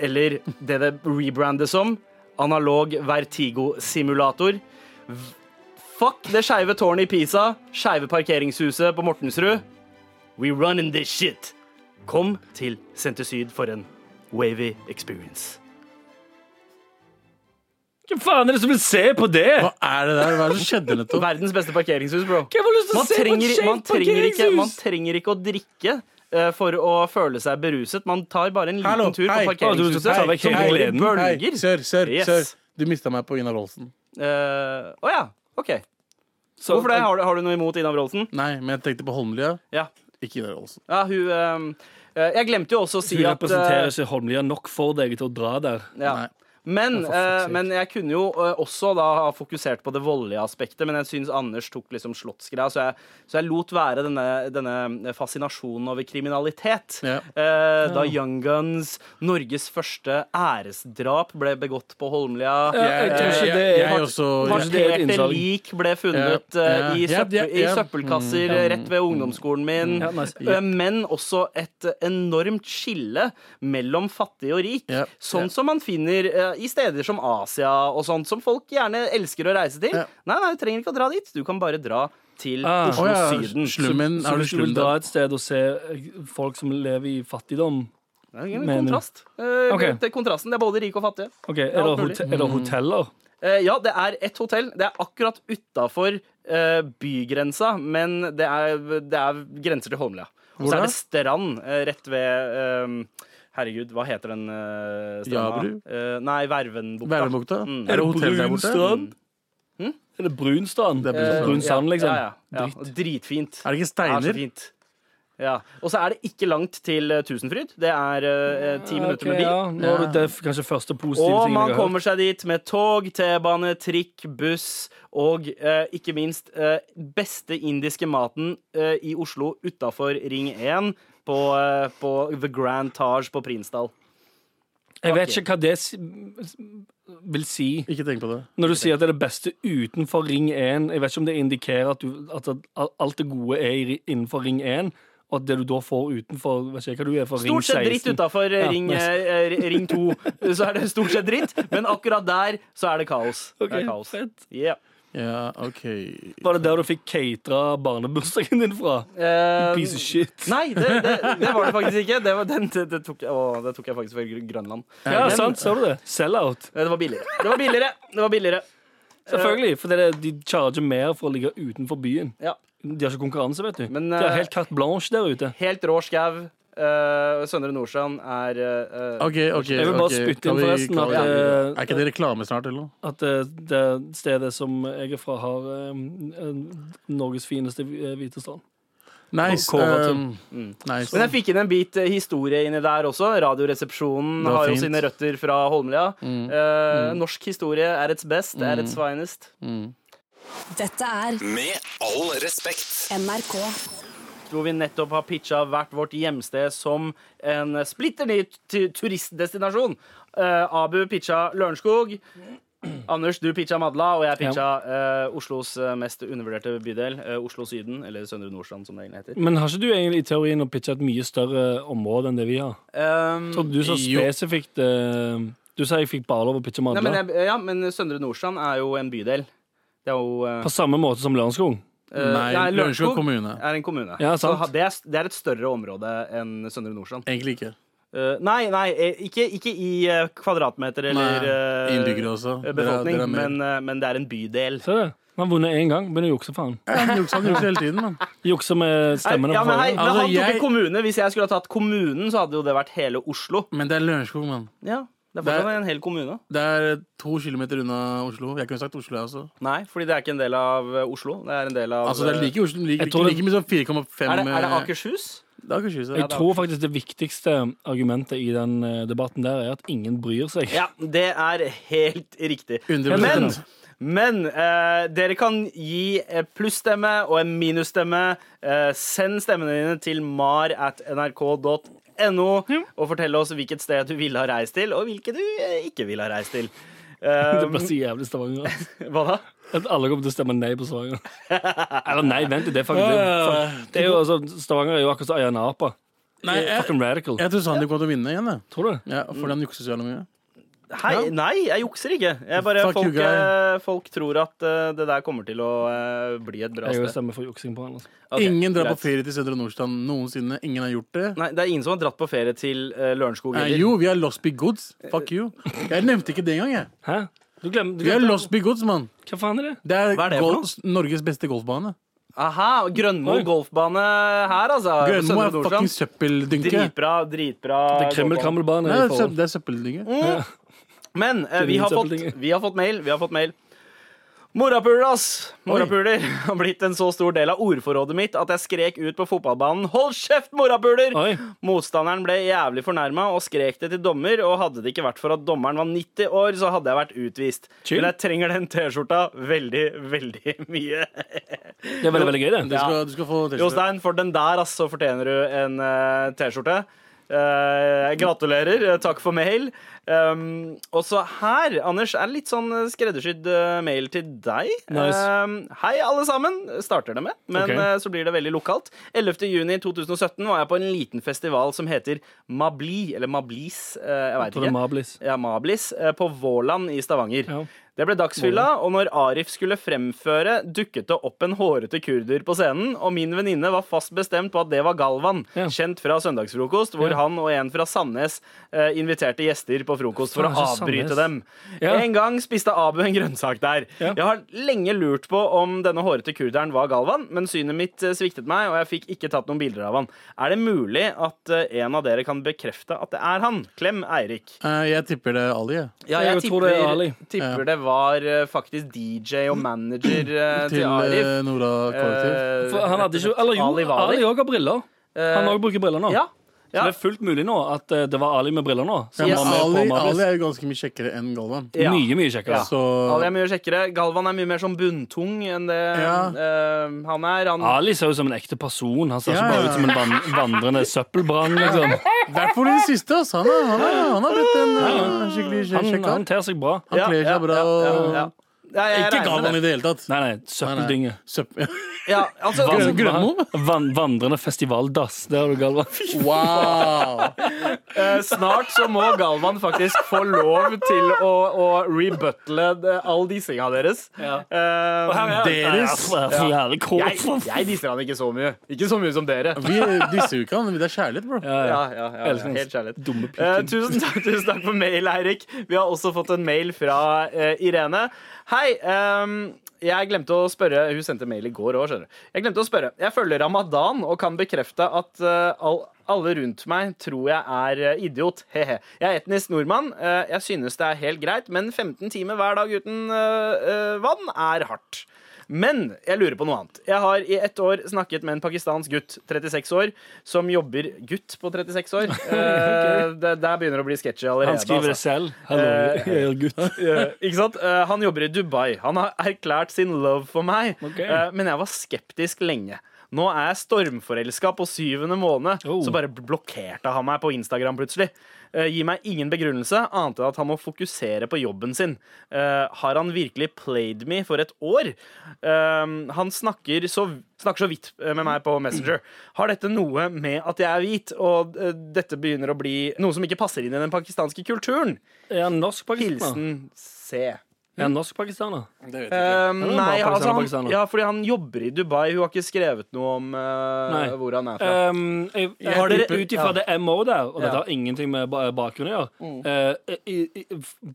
[SPEAKER 3] Eller det det rebrandes som, analog vertigo-simulator. V- Fuck det skeive tårnet i Pisa, skeive parkeringshuset på Mortensrud. We running this shit. Kom til Senter Syd for en wavy experience.
[SPEAKER 6] Hvem faen er det som vil se på det?
[SPEAKER 2] hva er det der? Hva er det som skjedde nettopp?
[SPEAKER 3] Verdens beste parkeringshus, bro.
[SPEAKER 6] Hvem har lyst til å
[SPEAKER 3] man
[SPEAKER 6] se på
[SPEAKER 3] trenger, man,
[SPEAKER 6] et skjevt
[SPEAKER 3] trenger ikke, man
[SPEAKER 6] parkeringshus?
[SPEAKER 3] trenger ikke å drikke eh, for å føle seg beruset. Man tar bare en liten
[SPEAKER 2] Hallo,
[SPEAKER 3] tur på
[SPEAKER 2] hei.
[SPEAKER 6] Å, du
[SPEAKER 3] parkeringshuset.
[SPEAKER 6] skal ta vekk
[SPEAKER 3] som
[SPEAKER 6] hele
[SPEAKER 3] går i
[SPEAKER 6] gleden.
[SPEAKER 2] Hei,
[SPEAKER 3] bølger.
[SPEAKER 2] sør, sør,
[SPEAKER 3] Yes.
[SPEAKER 2] sør. Du mista meg på Ina Rolsen.
[SPEAKER 3] Eh, Å ja. OK.
[SPEAKER 6] Så-
[SPEAKER 3] Hvorfor det? Har du, har du noe imot Ina Wroldsen?
[SPEAKER 2] Nei, men jeg tenkte på Holmlia,
[SPEAKER 3] Ja.
[SPEAKER 2] ikke Ina Rolsen.
[SPEAKER 3] ja, hun eh, eh, Jeg glemte jo også å si
[SPEAKER 6] Du
[SPEAKER 3] at eh,
[SPEAKER 6] representerer ikke Holmlia nok for deg til å dra der.
[SPEAKER 3] ja.
[SPEAKER 2] Nei.
[SPEAKER 3] Men,
[SPEAKER 6] for fuck's
[SPEAKER 3] eh,
[SPEAKER 6] sake.
[SPEAKER 3] men jeg kunne jo eh, også da ha fokusert på det voldelige aspektet, men jeg syns Anders tok liksom slottsgreia, så, jeg- så jeg lot være denne, denne fascinasjonen over kriminalitet.
[SPEAKER 2] Ja.
[SPEAKER 3] Eh, da Young Guns, Norges første æresdrap, ble begått på Holmlia.
[SPEAKER 6] Ja, jeg tror ikke
[SPEAKER 2] jeg,
[SPEAKER 6] det er-
[SPEAKER 2] jeg også
[SPEAKER 6] Kanskje det er et
[SPEAKER 3] Parterte
[SPEAKER 6] innsalg.
[SPEAKER 3] lik ble funnet
[SPEAKER 2] Ja,
[SPEAKER 3] eh,
[SPEAKER 2] ja.
[SPEAKER 3] i,
[SPEAKER 2] Ja,
[SPEAKER 3] søppel,
[SPEAKER 2] ja, ja. Mm.
[SPEAKER 3] i søppelkasser eh, rett ved ungdomsskolen min.
[SPEAKER 6] Ja, nice.
[SPEAKER 3] Eh, Men også et enormt skille mellom fattig og rik.
[SPEAKER 2] Ja,
[SPEAKER 3] Sånn
[SPEAKER 2] ja.
[SPEAKER 3] som man finner eh, i steder som Asia og sånt, som folk gjerne elsker å reise til.
[SPEAKER 2] Ja.
[SPEAKER 3] Nei, nei, du trenger ikke å dra dit. Du kan bare dra til
[SPEAKER 6] Ah.
[SPEAKER 3] Oslo
[SPEAKER 2] Å ja,
[SPEAKER 3] Syden.
[SPEAKER 2] slummen.
[SPEAKER 6] så
[SPEAKER 2] Har du
[SPEAKER 6] hvis du vil
[SPEAKER 2] slum
[SPEAKER 6] dra
[SPEAKER 2] der?
[SPEAKER 6] et sted og se eh, folk som lever i fattigdom
[SPEAKER 3] Det er en
[SPEAKER 6] Mener.
[SPEAKER 3] kontrast. Eh,
[SPEAKER 6] Ok.
[SPEAKER 3] det er kontrasten. Det er både rike og fattige.
[SPEAKER 6] Ok, Er
[SPEAKER 3] Ja,
[SPEAKER 6] det,
[SPEAKER 3] alt mulig.
[SPEAKER 6] hot er
[SPEAKER 2] Mm.
[SPEAKER 6] det hoteller?
[SPEAKER 3] Eh, ja, det er ett hotell. Det er akkurat utafor bygrensa, men det er, det er grenser til Holmlia. Og
[SPEAKER 2] Hvor
[SPEAKER 3] så
[SPEAKER 2] da?
[SPEAKER 3] er det strand eh, rett ved eh, Herregud, hva heter den eh, stranda?
[SPEAKER 2] Jabru?
[SPEAKER 3] Eh, nei, Vervenbukta.
[SPEAKER 2] Vervenbukta?
[SPEAKER 3] Mm.
[SPEAKER 2] Er det hotell der
[SPEAKER 6] brun
[SPEAKER 2] borte?
[SPEAKER 6] strand? Mm.
[SPEAKER 3] Hm?
[SPEAKER 6] Er det brun strand?
[SPEAKER 2] Det er brun strand.
[SPEAKER 6] brun strand, liksom?
[SPEAKER 3] Eh, Ja, ja, ja. Dritfint.
[SPEAKER 2] Er det
[SPEAKER 3] Det er
[SPEAKER 2] ikke
[SPEAKER 3] så
[SPEAKER 2] steiner?
[SPEAKER 3] fint. Ja. Og så er det ikke langt til eh, Tusenfryd. Det er eh, ti minutter med bil.
[SPEAKER 6] Ja, nå er det f- kanskje første positive
[SPEAKER 3] Og man
[SPEAKER 6] ting jeg har hørt.
[SPEAKER 3] kommer seg dit med tog, T-bane, trikk, buss og eh, ikke minst eh, beste indiske maten eh, i Oslo utafor Ring 1 på, eh, på The Grand Taj på Prinsdal.
[SPEAKER 6] Jeg vet ikke hva det s- s- vil si
[SPEAKER 2] Ikke tenk på det.
[SPEAKER 6] når du sier at det er det beste utenfor ring 1. Jeg vet ikke om det indikerer at, du, at at alt det gode er i ri- innenfor ring 1, og at det du da får utenfor vet ikke hva du er for ring
[SPEAKER 3] Stort
[SPEAKER 6] 16.
[SPEAKER 3] sett dritt utafor
[SPEAKER 6] Ja,
[SPEAKER 3] ring,
[SPEAKER 6] nice.
[SPEAKER 3] eh, eh, ring 2. (laughs) Så er det stort sett dritt, men akkurat der så er det kaos. det
[SPEAKER 6] Ok,
[SPEAKER 3] er kaos.
[SPEAKER 6] fett.
[SPEAKER 3] Yeah.
[SPEAKER 2] Ja, OK.
[SPEAKER 6] Var det der du fikk catera barnebursdagen din fra?
[SPEAKER 3] Eh,
[SPEAKER 6] Piece of shit.
[SPEAKER 3] Nei, det, det, det var det faktisk ikke. Det, var, den, det, det, tok, å, det tok jeg faktisk fra Gr- Grønland.
[SPEAKER 6] Ja,
[SPEAKER 3] Men-
[SPEAKER 6] sant, sa du det? Sell-out.
[SPEAKER 3] Eh, Det var billigere. Det var billigere. Det var billigere.
[SPEAKER 6] Selvfølgelig, for det er, de charger mer for å ligge utenfor byen.
[SPEAKER 3] Ja.
[SPEAKER 6] De har ikke konkurranse, vet du.
[SPEAKER 3] Men,
[SPEAKER 6] de
[SPEAKER 3] eh,
[SPEAKER 6] har helt carte blanche der ute.
[SPEAKER 3] Helt rå skau. eh, Søndre Nordstrand er eh,
[SPEAKER 2] OK, OK.
[SPEAKER 6] Jeg vil bare
[SPEAKER 2] ok.
[SPEAKER 6] spytte
[SPEAKER 2] Kan
[SPEAKER 6] inn
[SPEAKER 2] vi-
[SPEAKER 6] forresten
[SPEAKER 2] kan
[SPEAKER 6] at,
[SPEAKER 2] vi-
[SPEAKER 6] eh,
[SPEAKER 2] Er ikke det reklame snart, eller noe?
[SPEAKER 6] At eh, det stedet som jeg er fra, har eh, en- Norges fineste eh, hvite strand.
[SPEAKER 2] Nice.
[SPEAKER 6] Kåre til.
[SPEAKER 2] ehm, nice.
[SPEAKER 3] Men jeg fikk inn en bit eh, historie inni der også. Radioresepsjonen
[SPEAKER 2] Det var
[SPEAKER 3] har jo
[SPEAKER 2] fint. Mm.
[SPEAKER 3] sine røtter fra Holmlia. Eh, Norsk historie er its best, er its finest.
[SPEAKER 2] Mm.
[SPEAKER 1] Dette er
[SPEAKER 5] Med all respekt.
[SPEAKER 1] NRK.
[SPEAKER 3] Hvor vi nettopp har pitcha hvert vårt hjemsted som en splitter ny tu- turistdestinasjon. Eh, Abu pitcha Lørenskog.
[SPEAKER 2] Mm.
[SPEAKER 3] Anders, du pitcha Madla, og jeg pitcha eh, Oslos eh, mest undervurderte bydel, eh, Oslo Syden, eller Søndre Nordstrand, som det egentlig heter.
[SPEAKER 6] Men har ikke du egentlig i teorien å pitche et mye større område enn det vi har?
[SPEAKER 3] Um,
[SPEAKER 6] Så du sa
[SPEAKER 2] Jo.
[SPEAKER 6] spesifikt eh, Du sa jeg fikk bare lov å pitche
[SPEAKER 3] Nei, men,
[SPEAKER 6] Madla.
[SPEAKER 3] jeg, ja, men Søndre Nordstrand er jo en bydel. Det er jo eh,
[SPEAKER 6] På samme måte som Lørenskog.
[SPEAKER 3] eh,
[SPEAKER 2] Nei, Lørenskog kommune.
[SPEAKER 3] er en kommune.
[SPEAKER 6] Ja,
[SPEAKER 3] så
[SPEAKER 6] sant.
[SPEAKER 3] ha- det, er, s- det er et større område enn Søndre Nordstrand.
[SPEAKER 2] Egentlig ikke.
[SPEAKER 3] Eh, nei, nei, eh, ikke, ikke i eh, kvadratmeter eller
[SPEAKER 2] Nei,
[SPEAKER 3] eh,
[SPEAKER 2] Innbyggere også.
[SPEAKER 3] eh,
[SPEAKER 2] Dere er-
[SPEAKER 3] befolkning,
[SPEAKER 2] dere er mer-
[SPEAKER 3] men, eh, men det er en bydel.
[SPEAKER 6] Se det. Han har vunnet én gang. Begynner å jukse, faen.
[SPEAKER 2] Ja, Han jukser han jukser hele tiden, mann.
[SPEAKER 6] Jukse
[SPEAKER 3] Nei,
[SPEAKER 6] med stemmene
[SPEAKER 3] ja,
[SPEAKER 6] på
[SPEAKER 3] men hei,
[SPEAKER 6] forhånd.
[SPEAKER 3] men
[SPEAKER 2] Altså,
[SPEAKER 3] han tok
[SPEAKER 2] jeg-
[SPEAKER 3] en kommune. Hvis jeg skulle ha tatt kommunen, så hadde jo det vært hele Oslo.
[SPEAKER 2] Men det er Lørenskog, mann.
[SPEAKER 3] Ja, Det er
[SPEAKER 2] Det er-
[SPEAKER 3] fortsatt en hel kommune.
[SPEAKER 2] Det er to kilometer unna Oslo. Jeg kunne sagt Oslo, jeg også.
[SPEAKER 3] Nei, fordi det er ikke en del av eh, Oslo. Det er en del av
[SPEAKER 2] Altså, det er like, Oslo, like,
[SPEAKER 6] Jeg tror det-
[SPEAKER 2] like mye som 4,5
[SPEAKER 3] er det, er det
[SPEAKER 2] eh,
[SPEAKER 3] Akershus?
[SPEAKER 2] Det er Akershus, ja.
[SPEAKER 6] Jeg tror faktisk det viktigste argumentet i den eh, debatten der er at ingen bryr seg.
[SPEAKER 3] Ja, det er helt riktig.
[SPEAKER 2] 100%
[SPEAKER 3] Men, men eh, dere kan gi eh, plusstemme og en minusstemme. Eh, send stemmene dine til mar at nrk.no og fortell oss hvilket sted du ville ha reist til, og hvilket du eh, ikke ville ha
[SPEAKER 2] (laughs)
[SPEAKER 3] reist til. Eh,
[SPEAKER 6] (laughs) Det blir så jævlig Stavanger. ass.
[SPEAKER 3] hva da?
[SPEAKER 6] At alle kommer til å stemme nei på Stavanger. Eller nei, vent litt. Det er faktisk det. er jo, altså, Stavanger er jo akkurat som Ayia Napa.
[SPEAKER 2] Nei, jeg,
[SPEAKER 6] Fucking radical.
[SPEAKER 2] jeg tror Sandeep kommer til å vinne igjen, jeg.
[SPEAKER 6] Tror du?
[SPEAKER 2] Ja,
[SPEAKER 3] Mm.
[SPEAKER 2] fordi han jukser så jævlig mye.
[SPEAKER 3] Hei, nei, jeg jukser ikke. Jeg bare,
[SPEAKER 2] Fuck you,
[SPEAKER 3] folk,
[SPEAKER 2] guy.
[SPEAKER 3] eh, folk tror at eh, det der kommer til å eh, bli et bra
[SPEAKER 6] Jeg
[SPEAKER 3] sted.
[SPEAKER 6] stemmer for juksing på han. Altså.
[SPEAKER 3] Ok,
[SPEAKER 2] ingen drar
[SPEAKER 3] greit.
[SPEAKER 2] på ferie til Søndre Nordstrand noensinne. Ingen har gjort det.
[SPEAKER 3] Nei, det er ingen som har dratt på ferie til eh, Lørenskog.
[SPEAKER 2] Nei,
[SPEAKER 3] heller.
[SPEAKER 2] jo, vi har Lost Big Goods. Fuck you. Jeg nevnte ikke det engang, jeg.
[SPEAKER 6] Hæ? Du glemmer, du
[SPEAKER 2] Vi har
[SPEAKER 6] glemmer
[SPEAKER 2] Lost Big Goods, mann.
[SPEAKER 6] Hva faen er det?
[SPEAKER 2] Det er,
[SPEAKER 3] Hva er det for
[SPEAKER 2] gol- Norges beste golfbane.
[SPEAKER 3] Aha, Grønmo
[SPEAKER 6] Oi.
[SPEAKER 3] golfbane her, altså. på
[SPEAKER 2] Grønmo
[SPEAKER 3] Søndre
[SPEAKER 2] er fucking
[SPEAKER 3] Nordstrand.
[SPEAKER 2] søppeldynke.
[SPEAKER 3] Dritbra, dritbra.
[SPEAKER 6] eh. Det er
[SPEAKER 3] golfbane.
[SPEAKER 6] kremmelkrammelbane. i
[SPEAKER 2] Nei, det er søp-
[SPEAKER 6] forhold.
[SPEAKER 2] det er
[SPEAKER 3] Mm.
[SPEAKER 2] søppeldynke.
[SPEAKER 3] Men eh, vi, har fått,
[SPEAKER 6] Søppeldynge.
[SPEAKER 3] vi har fått mail. Vi har fått mail. Morapuler, ass! Morapuler (laughs) har blitt en så stor del av ordforrådet mitt at jeg skrek ut på fotballbanen 'Hold kjeft, morapuler!'
[SPEAKER 6] Oi.
[SPEAKER 3] Motstanderen ble jævlig fornærma og skrek det til dommer, og hadde det ikke vært for at dommeren var 90 år, så hadde jeg vært utvist.
[SPEAKER 6] Chill.
[SPEAKER 3] Men jeg trenger den T-skjorta veldig, veldig mye.
[SPEAKER 6] Det er veldig, veldig gøy, det.
[SPEAKER 2] Du skal, du skal få teste.
[SPEAKER 3] Jostein, for den der ass, så fortjener du en eh, T-skjorte. Eh, gratulerer. eh, Takk for mail. Um, og så her, Anders, er det litt sånn eh, skreddersydd eh, mail til deg.
[SPEAKER 6] Nice.
[SPEAKER 3] Um, hei, alle sammen, starter det med, men
[SPEAKER 6] Ok.
[SPEAKER 3] eh, så blir det veldig lokalt. 11. juni 2017 var jeg på en liten festival som heter Mabli, eller Mablis, eh, jeg
[SPEAKER 6] Jeg
[SPEAKER 3] veit
[SPEAKER 6] tror det er
[SPEAKER 3] ikke.
[SPEAKER 6] Mablis.
[SPEAKER 3] Ja, Mablis, eh, på Våland i Stavanger.
[SPEAKER 6] Ja.
[SPEAKER 3] Det ble dagsfylla, og når Arif skulle fremføre, dukket det opp en hårete kurder på scenen, og min venninne var fast bestemt på at det var Galvan,
[SPEAKER 6] Ja.
[SPEAKER 3] kjent fra søndagsfrokost, hvor
[SPEAKER 6] Ja.
[SPEAKER 3] han og en fra Sandnes eh, inviterte gjester på frokost for
[SPEAKER 6] Faen,
[SPEAKER 3] å
[SPEAKER 6] så
[SPEAKER 3] avbryte
[SPEAKER 6] Sandnes.
[SPEAKER 3] dem.
[SPEAKER 6] Ja.
[SPEAKER 3] En gang spiste Abu en grønnsak der.
[SPEAKER 6] Ja.
[SPEAKER 3] Jeg har lenge lurt på om denne hårete kurderen var Galvan, men synet mitt eh, sviktet meg, og jeg fikk ikke tatt noen bilder av han. Er det mulig at eh, en av dere kan bekrefte at det er han? Klem Eirik.
[SPEAKER 2] Eh, Jeg tipper det er Ali, jeg.
[SPEAKER 3] Ja,
[SPEAKER 6] Jeg
[SPEAKER 3] jeg,
[SPEAKER 6] tror det er Ali.
[SPEAKER 3] tipper, tipper det var eh, faktisk DJ og manager eh, til
[SPEAKER 2] Til
[SPEAKER 3] Arif.
[SPEAKER 2] eh, Nora Kollektiv.
[SPEAKER 3] Eh,
[SPEAKER 6] For han hadde ikke Eller jo,
[SPEAKER 3] Ali Wali.
[SPEAKER 6] Ali òg har briller.
[SPEAKER 3] Eh,
[SPEAKER 6] Han òg bruker briller nå.
[SPEAKER 3] ja.
[SPEAKER 6] Så
[SPEAKER 3] ja.
[SPEAKER 6] det er fullt mulig nå at eh, det var Ali med briller nå. Som
[SPEAKER 2] Ja,
[SPEAKER 3] Yes.
[SPEAKER 6] var med på
[SPEAKER 2] men Ali, Ali
[SPEAKER 6] Marbles.
[SPEAKER 2] er jo ganske mye kjekkere enn Galvan.
[SPEAKER 3] Ja.
[SPEAKER 6] Mye, mye kjekkere.
[SPEAKER 3] Ja.
[SPEAKER 2] Så
[SPEAKER 3] Ali er mye kjekkere. Galvan er mye mer sånn bunntung enn det
[SPEAKER 2] Ja.
[SPEAKER 3] eh, han er. Han,
[SPEAKER 6] Ali ser ut som en ekte person. Han ser ikke
[SPEAKER 2] Ja,
[SPEAKER 6] bare
[SPEAKER 2] ja.
[SPEAKER 6] ut som en van vandrende søppelbrann. Liksom.
[SPEAKER 2] i hvert fall i det siste. ass. Han er- han er- han har blitt en eh, skikkelig kje-
[SPEAKER 6] Han,
[SPEAKER 2] sjekka.
[SPEAKER 6] han ter seg bra.
[SPEAKER 2] Han kler seg bra. og-
[SPEAKER 3] Ja, jeg regner med
[SPEAKER 2] Ikke Galvan i
[SPEAKER 3] det.
[SPEAKER 2] det hele tatt.
[SPEAKER 6] Nei, nei, søppeldynge.
[SPEAKER 2] Søpp- (laughs)
[SPEAKER 3] Ja, altså,
[SPEAKER 6] Van- (laughs)
[SPEAKER 2] Grønmo?
[SPEAKER 6] van- Vandrende festivaldass. Det har du, Galvan.
[SPEAKER 2] Wow!
[SPEAKER 3] eh, snart så må Galvan faktisk få lov til å, å rebuttle eh, all dissinga deres.
[SPEAKER 6] Ja.
[SPEAKER 3] Eh,
[SPEAKER 2] Deres?
[SPEAKER 6] Nei, altså, jævlig kåt.
[SPEAKER 3] jeg, jeg disser han ikke så mye. Ikke så mye som dere.
[SPEAKER 2] Vi disser jo ikke han, men det er kjærlighet, bro.
[SPEAKER 6] Ja,
[SPEAKER 3] Ja,
[SPEAKER 6] ja.
[SPEAKER 3] ja, ja,
[SPEAKER 6] Elsker
[SPEAKER 3] ja.
[SPEAKER 6] han.
[SPEAKER 3] Helt kjærlighet.
[SPEAKER 6] Dumme
[SPEAKER 3] Eh,
[SPEAKER 6] pikken.
[SPEAKER 3] tusen, takk, tusen takk for mail, Eirik. Vi har også fått en mail fra eh, Irene. Hei. ehm, jeg glemte å spørre Hun sendte mail i går òg, skjønner du. Jeg glemte å spørre. Jeg følger ramadan og kan bekrefte at eh, all, alle rundt meg tror jeg er eh, idiot. Hehe. Jeg er etnisk nordmann. Eh, jeg synes det er helt greit, men 15 timer hver dag uten eh, eh, vann er hardt. Men jeg lurer på noe annet. Jeg har i ett år snakket med en pakistansk gutt, 36 år, som jobber Gutt på 36
[SPEAKER 6] (laughs)
[SPEAKER 3] år. Eh, det, der begynner det å bli sketchy allerede.
[SPEAKER 6] (laughs) Han skriver det
[SPEAKER 3] altså.
[SPEAKER 6] selv. Hallo,
[SPEAKER 3] Eh,
[SPEAKER 6] jeg er
[SPEAKER 3] (laughs)
[SPEAKER 6] gutt.
[SPEAKER 3] Eh, ikke sant? Eh, han jobber i Dubai. Han har erklært sin love for meg,
[SPEAKER 6] Ok.
[SPEAKER 3] Eh, men jeg var skeptisk lenge. Nå er jeg stormforelska på syvende måned,
[SPEAKER 6] Oh.
[SPEAKER 3] så bare blokkerte han meg på Instagram plutselig. Eh, gir meg ingen begrunnelse, annet enn at han må fokusere på jobben sin. Eh, har han virkelig played me for et år? Eh, han snakker så, snakker så vidt eh, med meg på Messenger. Har dette noe med at jeg er hvit, og eh, dette begynner å bli noe som ikke passer inn i den pakistanske kulturen?
[SPEAKER 6] Er han norsk-pakistaner?
[SPEAKER 3] Hilsen C.
[SPEAKER 6] Er han norsk-pakistaner?
[SPEAKER 3] Um,
[SPEAKER 6] Eller
[SPEAKER 3] nei,
[SPEAKER 6] bare pakistaner,
[SPEAKER 3] altså han,
[SPEAKER 6] pakistaner?
[SPEAKER 3] ja, fordi han jobber i Dubai. Hun har ikke skrevet noe om eh,
[SPEAKER 6] Nei.
[SPEAKER 3] hvor han er fra.
[SPEAKER 6] Um, jeg, jeg,
[SPEAKER 2] Har dere-
[SPEAKER 6] tipper- ut ifra
[SPEAKER 2] ja.
[SPEAKER 6] det MO der, og dette
[SPEAKER 3] Ja.
[SPEAKER 6] har ingenting med ba- bakgrunn å gjøre eh, i, i,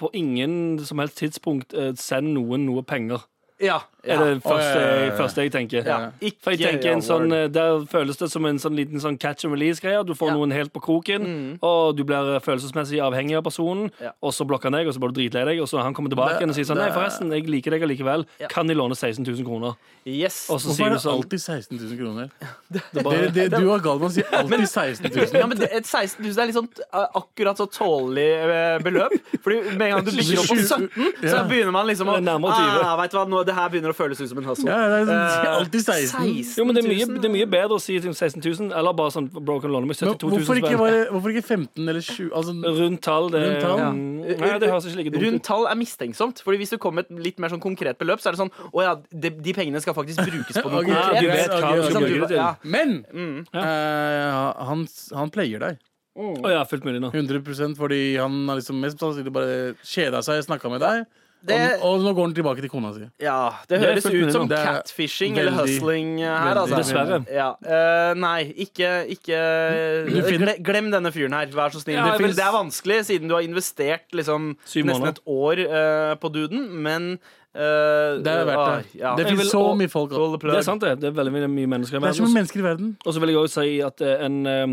[SPEAKER 6] På ingen som helst tidspunkt eh, send noen noe penger.
[SPEAKER 3] ja, ja.
[SPEAKER 6] Er det første,
[SPEAKER 2] ja, eh, ja, ja.
[SPEAKER 6] første jeg tenker.
[SPEAKER 3] Ja. Ikke
[SPEAKER 6] For jeg tenker en sånn,
[SPEAKER 3] award.
[SPEAKER 6] eh, Der føles det som en sånn liten sånn catch and release-greie. Du får noen helt på kroken, og du blir eh, følelsesmessig avhengig av personen.
[SPEAKER 3] Mm. Ja.
[SPEAKER 6] Og så blokker han deg, og så blir du dritlei deg. Og så når han kommer tilbake igjen og sier sånn Nei, forresten, jeg liker deg allikevel. Kan de låne 16 000 kroner?
[SPEAKER 3] Yes.
[SPEAKER 6] Og så
[SPEAKER 2] Hvorfor
[SPEAKER 6] sier
[SPEAKER 2] er
[SPEAKER 6] du
[SPEAKER 2] det
[SPEAKER 6] sånn
[SPEAKER 2] alltid 16 000 kroner?
[SPEAKER 6] det
[SPEAKER 2] Dere,
[SPEAKER 6] bare,
[SPEAKER 2] det, du og Galvan sier alltid 16 000.
[SPEAKER 3] (laughs) Ja, men det, et 16 000 er litt sånn eh, akkurat så tålelig eh, beløp. Fordi med en gang du bikker opp på 17, så
[SPEAKER 2] Ja.
[SPEAKER 3] begynner man liksom å
[SPEAKER 6] Det er nærmere 20.
[SPEAKER 3] ah, vet du hva, nå, Det her begynner å føles ut som en hustle.
[SPEAKER 2] Ja, det er sånn,
[SPEAKER 3] Eh,
[SPEAKER 2] alltid 16 000.
[SPEAKER 3] 16
[SPEAKER 6] Jo, men det er,
[SPEAKER 3] 000,
[SPEAKER 6] mye, det er mye bedre å si til 16 000, eller bare sånn Bro, kan du låne meg
[SPEAKER 2] Men
[SPEAKER 6] 72 000
[SPEAKER 2] hvorfor ikke,
[SPEAKER 6] spenn?
[SPEAKER 2] bare, hvorfor ikke 15 eller 20? Altså,
[SPEAKER 6] Rundt tall. Det,
[SPEAKER 2] Rundt tall?
[SPEAKER 6] Ja. Nei, det høres ikke like dumt
[SPEAKER 3] Rundt
[SPEAKER 6] ut.
[SPEAKER 3] tall er mistenksomt. Fordi Hvis du kommer med et litt mer sånn konkret beløp, så er det sånn Å ja, de, de pengene skal faktisk brukes på noe
[SPEAKER 2] Ok,
[SPEAKER 6] Ja, du
[SPEAKER 3] konkret. Ikke
[SPEAKER 6] vet hva du
[SPEAKER 2] ok,
[SPEAKER 6] skal
[SPEAKER 3] sant?
[SPEAKER 2] ok.
[SPEAKER 6] bruke det til.
[SPEAKER 3] ja.
[SPEAKER 2] men
[SPEAKER 6] Mm.
[SPEAKER 2] eh, han, han pleier deg.
[SPEAKER 6] Å ja, fullt mulig nå.
[SPEAKER 2] 100 fordi han har liksom mest sannsynlig bare kjeda seg, snakka med deg,
[SPEAKER 3] Det-
[SPEAKER 2] og, og nå går han tilbake til kona si.
[SPEAKER 3] Ja, det
[SPEAKER 6] Det er
[SPEAKER 3] høres
[SPEAKER 6] fullt
[SPEAKER 3] ut
[SPEAKER 6] mulig
[SPEAKER 3] som
[SPEAKER 2] nå. Det er
[SPEAKER 3] catfishing
[SPEAKER 2] veldig,
[SPEAKER 3] eller hustling eh, her,
[SPEAKER 2] veldig,
[SPEAKER 3] altså.
[SPEAKER 6] Dessverre.
[SPEAKER 3] Ja. eh, nei, ikke, ikke eh,
[SPEAKER 2] Du finner-
[SPEAKER 3] gle- Glem denne fyren her, vær så snill.
[SPEAKER 6] Ja,
[SPEAKER 3] Du
[SPEAKER 6] jeg
[SPEAKER 3] fin-
[SPEAKER 6] vil-
[SPEAKER 3] Det er vanskelig, siden du har investert liksom,
[SPEAKER 6] Syv
[SPEAKER 3] nesten
[SPEAKER 6] måneder.
[SPEAKER 3] et år eh, på duden, men eh, ah,
[SPEAKER 2] Det er verdt det. Det
[SPEAKER 6] Ah, Jeg vil-
[SPEAKER 2] finnes så
[SPEAKER 6] og-
[SPEAKER 2] mye folk.
[SPEAKER 6] Det er sant, det. Det er veldig mye- mye mennesker i
[SPEAKER 2] Det er så mye
[SPEAKER 6] verden.
[SPEAKER 2] mennesker i verden.
[SPEAKER 6] Og så vil jeg også si at eh, en, eh,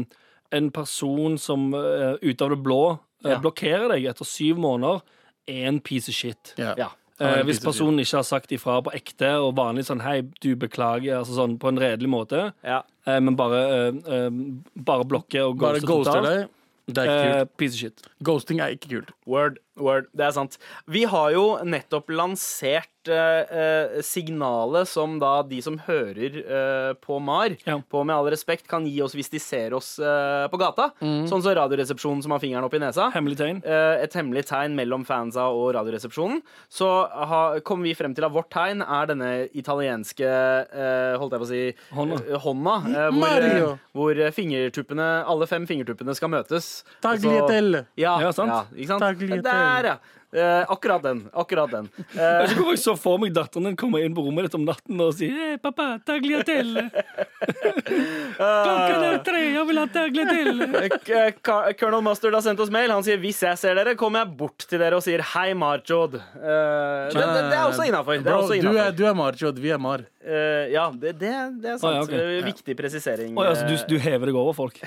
[SPEAKER 6] en person som eh, ut av det blå eh, blokkerer deg etter syv måneder, er en piece of shit.
[SPEAKER 3] Ja.
[SPEAKER 2] Han er
[SPEAKER 6] Eh,
[SPEAKER 2] en
[SPEAKER 6] hvis
[SPEAKER 2] piece of shit.
[SPEAKER 6] personen ikke har sagt ifra på ekte og vanlig sånn hei, du beklager, altså sånn på en redelig måte,
[SPEAKER 3] Ja.
[SPEAKER 6] eh, men bare, eh, eh, bare blokker og
[SPEAKER 2] Bare
[SPEAKER 6] ghoster
[SPEAKER 2] ghoster
[SPEAKER 6] totalt,
[SPEAKER 2] deg. Det er ikke
[SPEAKER 6] eh,
[SPEAKER 2] kult.
[SPEAKER 6] piece of shit.
[SPEAKER 2] Ghosting er ikke kult.
[SPEAKER 3] Word, word, det er sant. Vi har jo nettopp lansert eh, eh, signalet som da de som hører eh, på MAR,
[SPEAKER 6] Ja.
[SPEAKER 3] på Med all respekt, kan gi oss hvis de ser oss eh, på gata. Sånn som Radioresepsjonen som har fingeren opp i nesa.
[SPEAKER 6] Hemmelig tegn.
[SPEAKER 3] Eh, et hemmelig tegn mellom fansa og Radioresepsjonen. Så ha, kom vi frem til at vårt tegn er denne italienske eh, Holdt jeg på å si
[SPEAKER 6] Hånda.
[SPEAKER 3] eh, hånda eh, hvor, eh,
[SPEAKER 2] Mario.
[SPEAKER 3] hvor eh, fingertuppene, alle fem fingertuppene skal møtes.
[SPEAKER 2] Tagliatelle.
[SPEAKER 3] Ja,
[SPEAKER 6] Ja, sant.
[SPEAKER 3] ikke sant?
[SPEAKER 2] Tagliatelle.
[SPEAKER 3] Der, ja. Eh, akkurat den. Akkurat den. Eh,
[SPEAKER 6] Jeg tror jeg så for meg datteren din komme inn på rommet ditt om natten og si hey, 'Pappa,
[SPEAKER 2] (laughs)
[SPEAKER 6] tagliatelle'.
[SPEAKER 2] Ah.
[SPEAKER 6] Klokka er tre, jeg vil ha tagliatelle.
[SPEAKER 3] Eh, K- Ka- Colonel Mustard har sendt oss mail. Han sier hvis jeg ser dere, kommer jeg bort til dere og sier hei, Marjod. Eh, det, det, det er også innafor.
[SPEAKER 2] Bro, du er, du er Marjod, vi er Mar.
[SPEAKER 3] Eh, ja, det, det, det er sant.
[SPEAKER 6] Å, ja, ok.
[SPEAKER 3] Eh, Viktig presisering. eh,
[SPEAKER 6] Oi, altså, du, du hever deg over folk.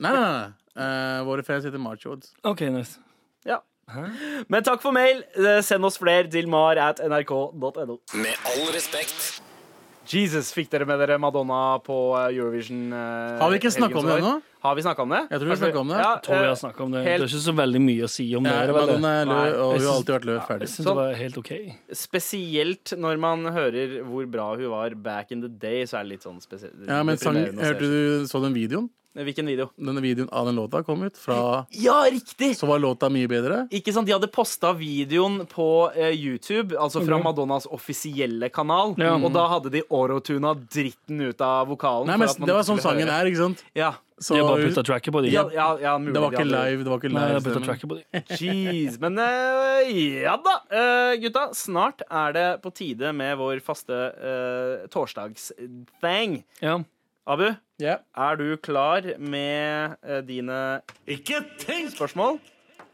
[SPEAKER 2] Nei, nei, nei. Eh, våre fans heter Marjod.
[SPEAKER 6] (laughs) OK, nice.
[SPEAKER 3] Ja. Men takk for mail. Eh, Send oss flere til mar at nrk.no.
[SPEAKER 5] Med all respekt.
[SPEAKER 3] Jesus, fikk dere med dere Madonna på eh, Eurovision? eh,
[SPEAKER 2] Har vi ikke
[SPEAKER 3] helgen
[SPEAKER 2] snakket om det
[SPEAKER 3] som var?
[SPEAKER 2] ennå?
[SPEAKER 3] Har vi snakket om det?
[SPEAKER 2] Jeg tror vi
[SPEAKER 3] Kanskje-
[SPEAKER 2] snakket om det.
[SPEAKER 3] Ja,
[SPEAKER 6] Jeg tror vi
[SPEAKER 3] eh,
[SPEAKER 6] har snakket om det.
[SPEAKER 3] helt-
[SPEAKER 6] Det er ikke så veldig mye å si om det.
[SPEAKER 2] Ja,
[SPEAKER 6] er det vel det?
[SPEAKER 2] Eh, Madonna er
[SPEAKER 3] Nei,
[SPEAKER 2] lø, og
[SPEAKER 6] jeg
[SPEAKER 2] hun har
[SPEAKER 6] syns-
[SPEAKER 2] alltid vært lø.
[SPEAKER 6] Jeg
[SPEAKER 2] Ferdig.
[SPEAKER 6] syns det var helt OK.
[SPEAKER 3] Spesielt når man hører hvor bra hun var back in the day, så er det litt sånn spesielt.
[SPEAKER 2] Ja, men sang,
[SPEAKER 3] deprimerende å se. Eh,
[SPEAKER 2] hørte du så den videoen?
[SPEAKER 3] Hvilken video?
[SPEAKER 2] Denne videoen av den låta kom ut fra
[SPEAKER 3] Ja, riktig!
[SPEAKER 2] Så var låta mye bedre.
[SPEAKER 3] Ikke sant, De hadde posta videoen på eh, YouTube, altså fra Madonnas offisielle kanal.
[SPEAKER 6] Ja.
[SPEAKER 3] Og da hadde de orotuna dritten ut av vokalen. for
[SPEAKER 2] Nei, men
[SPEAKER 3] at man
[SPEAKER 2] Det var
[SPEAKER 3] ikke
[SPEAKER 2] sånn
[SPEAKER 3] skulle
[SPEAKER 2] sangen
[SPEAKER 3] høre.
[SPEAKER 2] er, ikke sant?
[SPEAKER 3] Ja.
[SPEAKER 2] Så,
[SPEAKER 6] De har bare
[SPEAKER 2] hun-
[SPEAKER 6] putta tracket på det.
[SPEAKER 3] Ja, ja, ja, mulig
[SPEAKER 2] det var
[SPEAKER 3] de
[SPEAKER 2] ikke
[SPEAKER 3] hadde-
[SPEAKER 2] live. Det var ikke
[SPEAKER 6] Nei, de
[SPEAKER 2] live
[SPEAKER 6] har puttet
[SPEAKER 2] stemmen.
[SPEAKER 6] tracket på det.
[SPEAKER 3] Jeez, men eh, ja da. Eh, gutta, snart er det på tide med vår faste uh, torsdags-thing.
[SPEAKER 6] Ja.
[SPEAKER 3] Abu,
[SPEAKER 2] Ja.
[SPEAKER 3] er du klar med eh, dine spørsmål?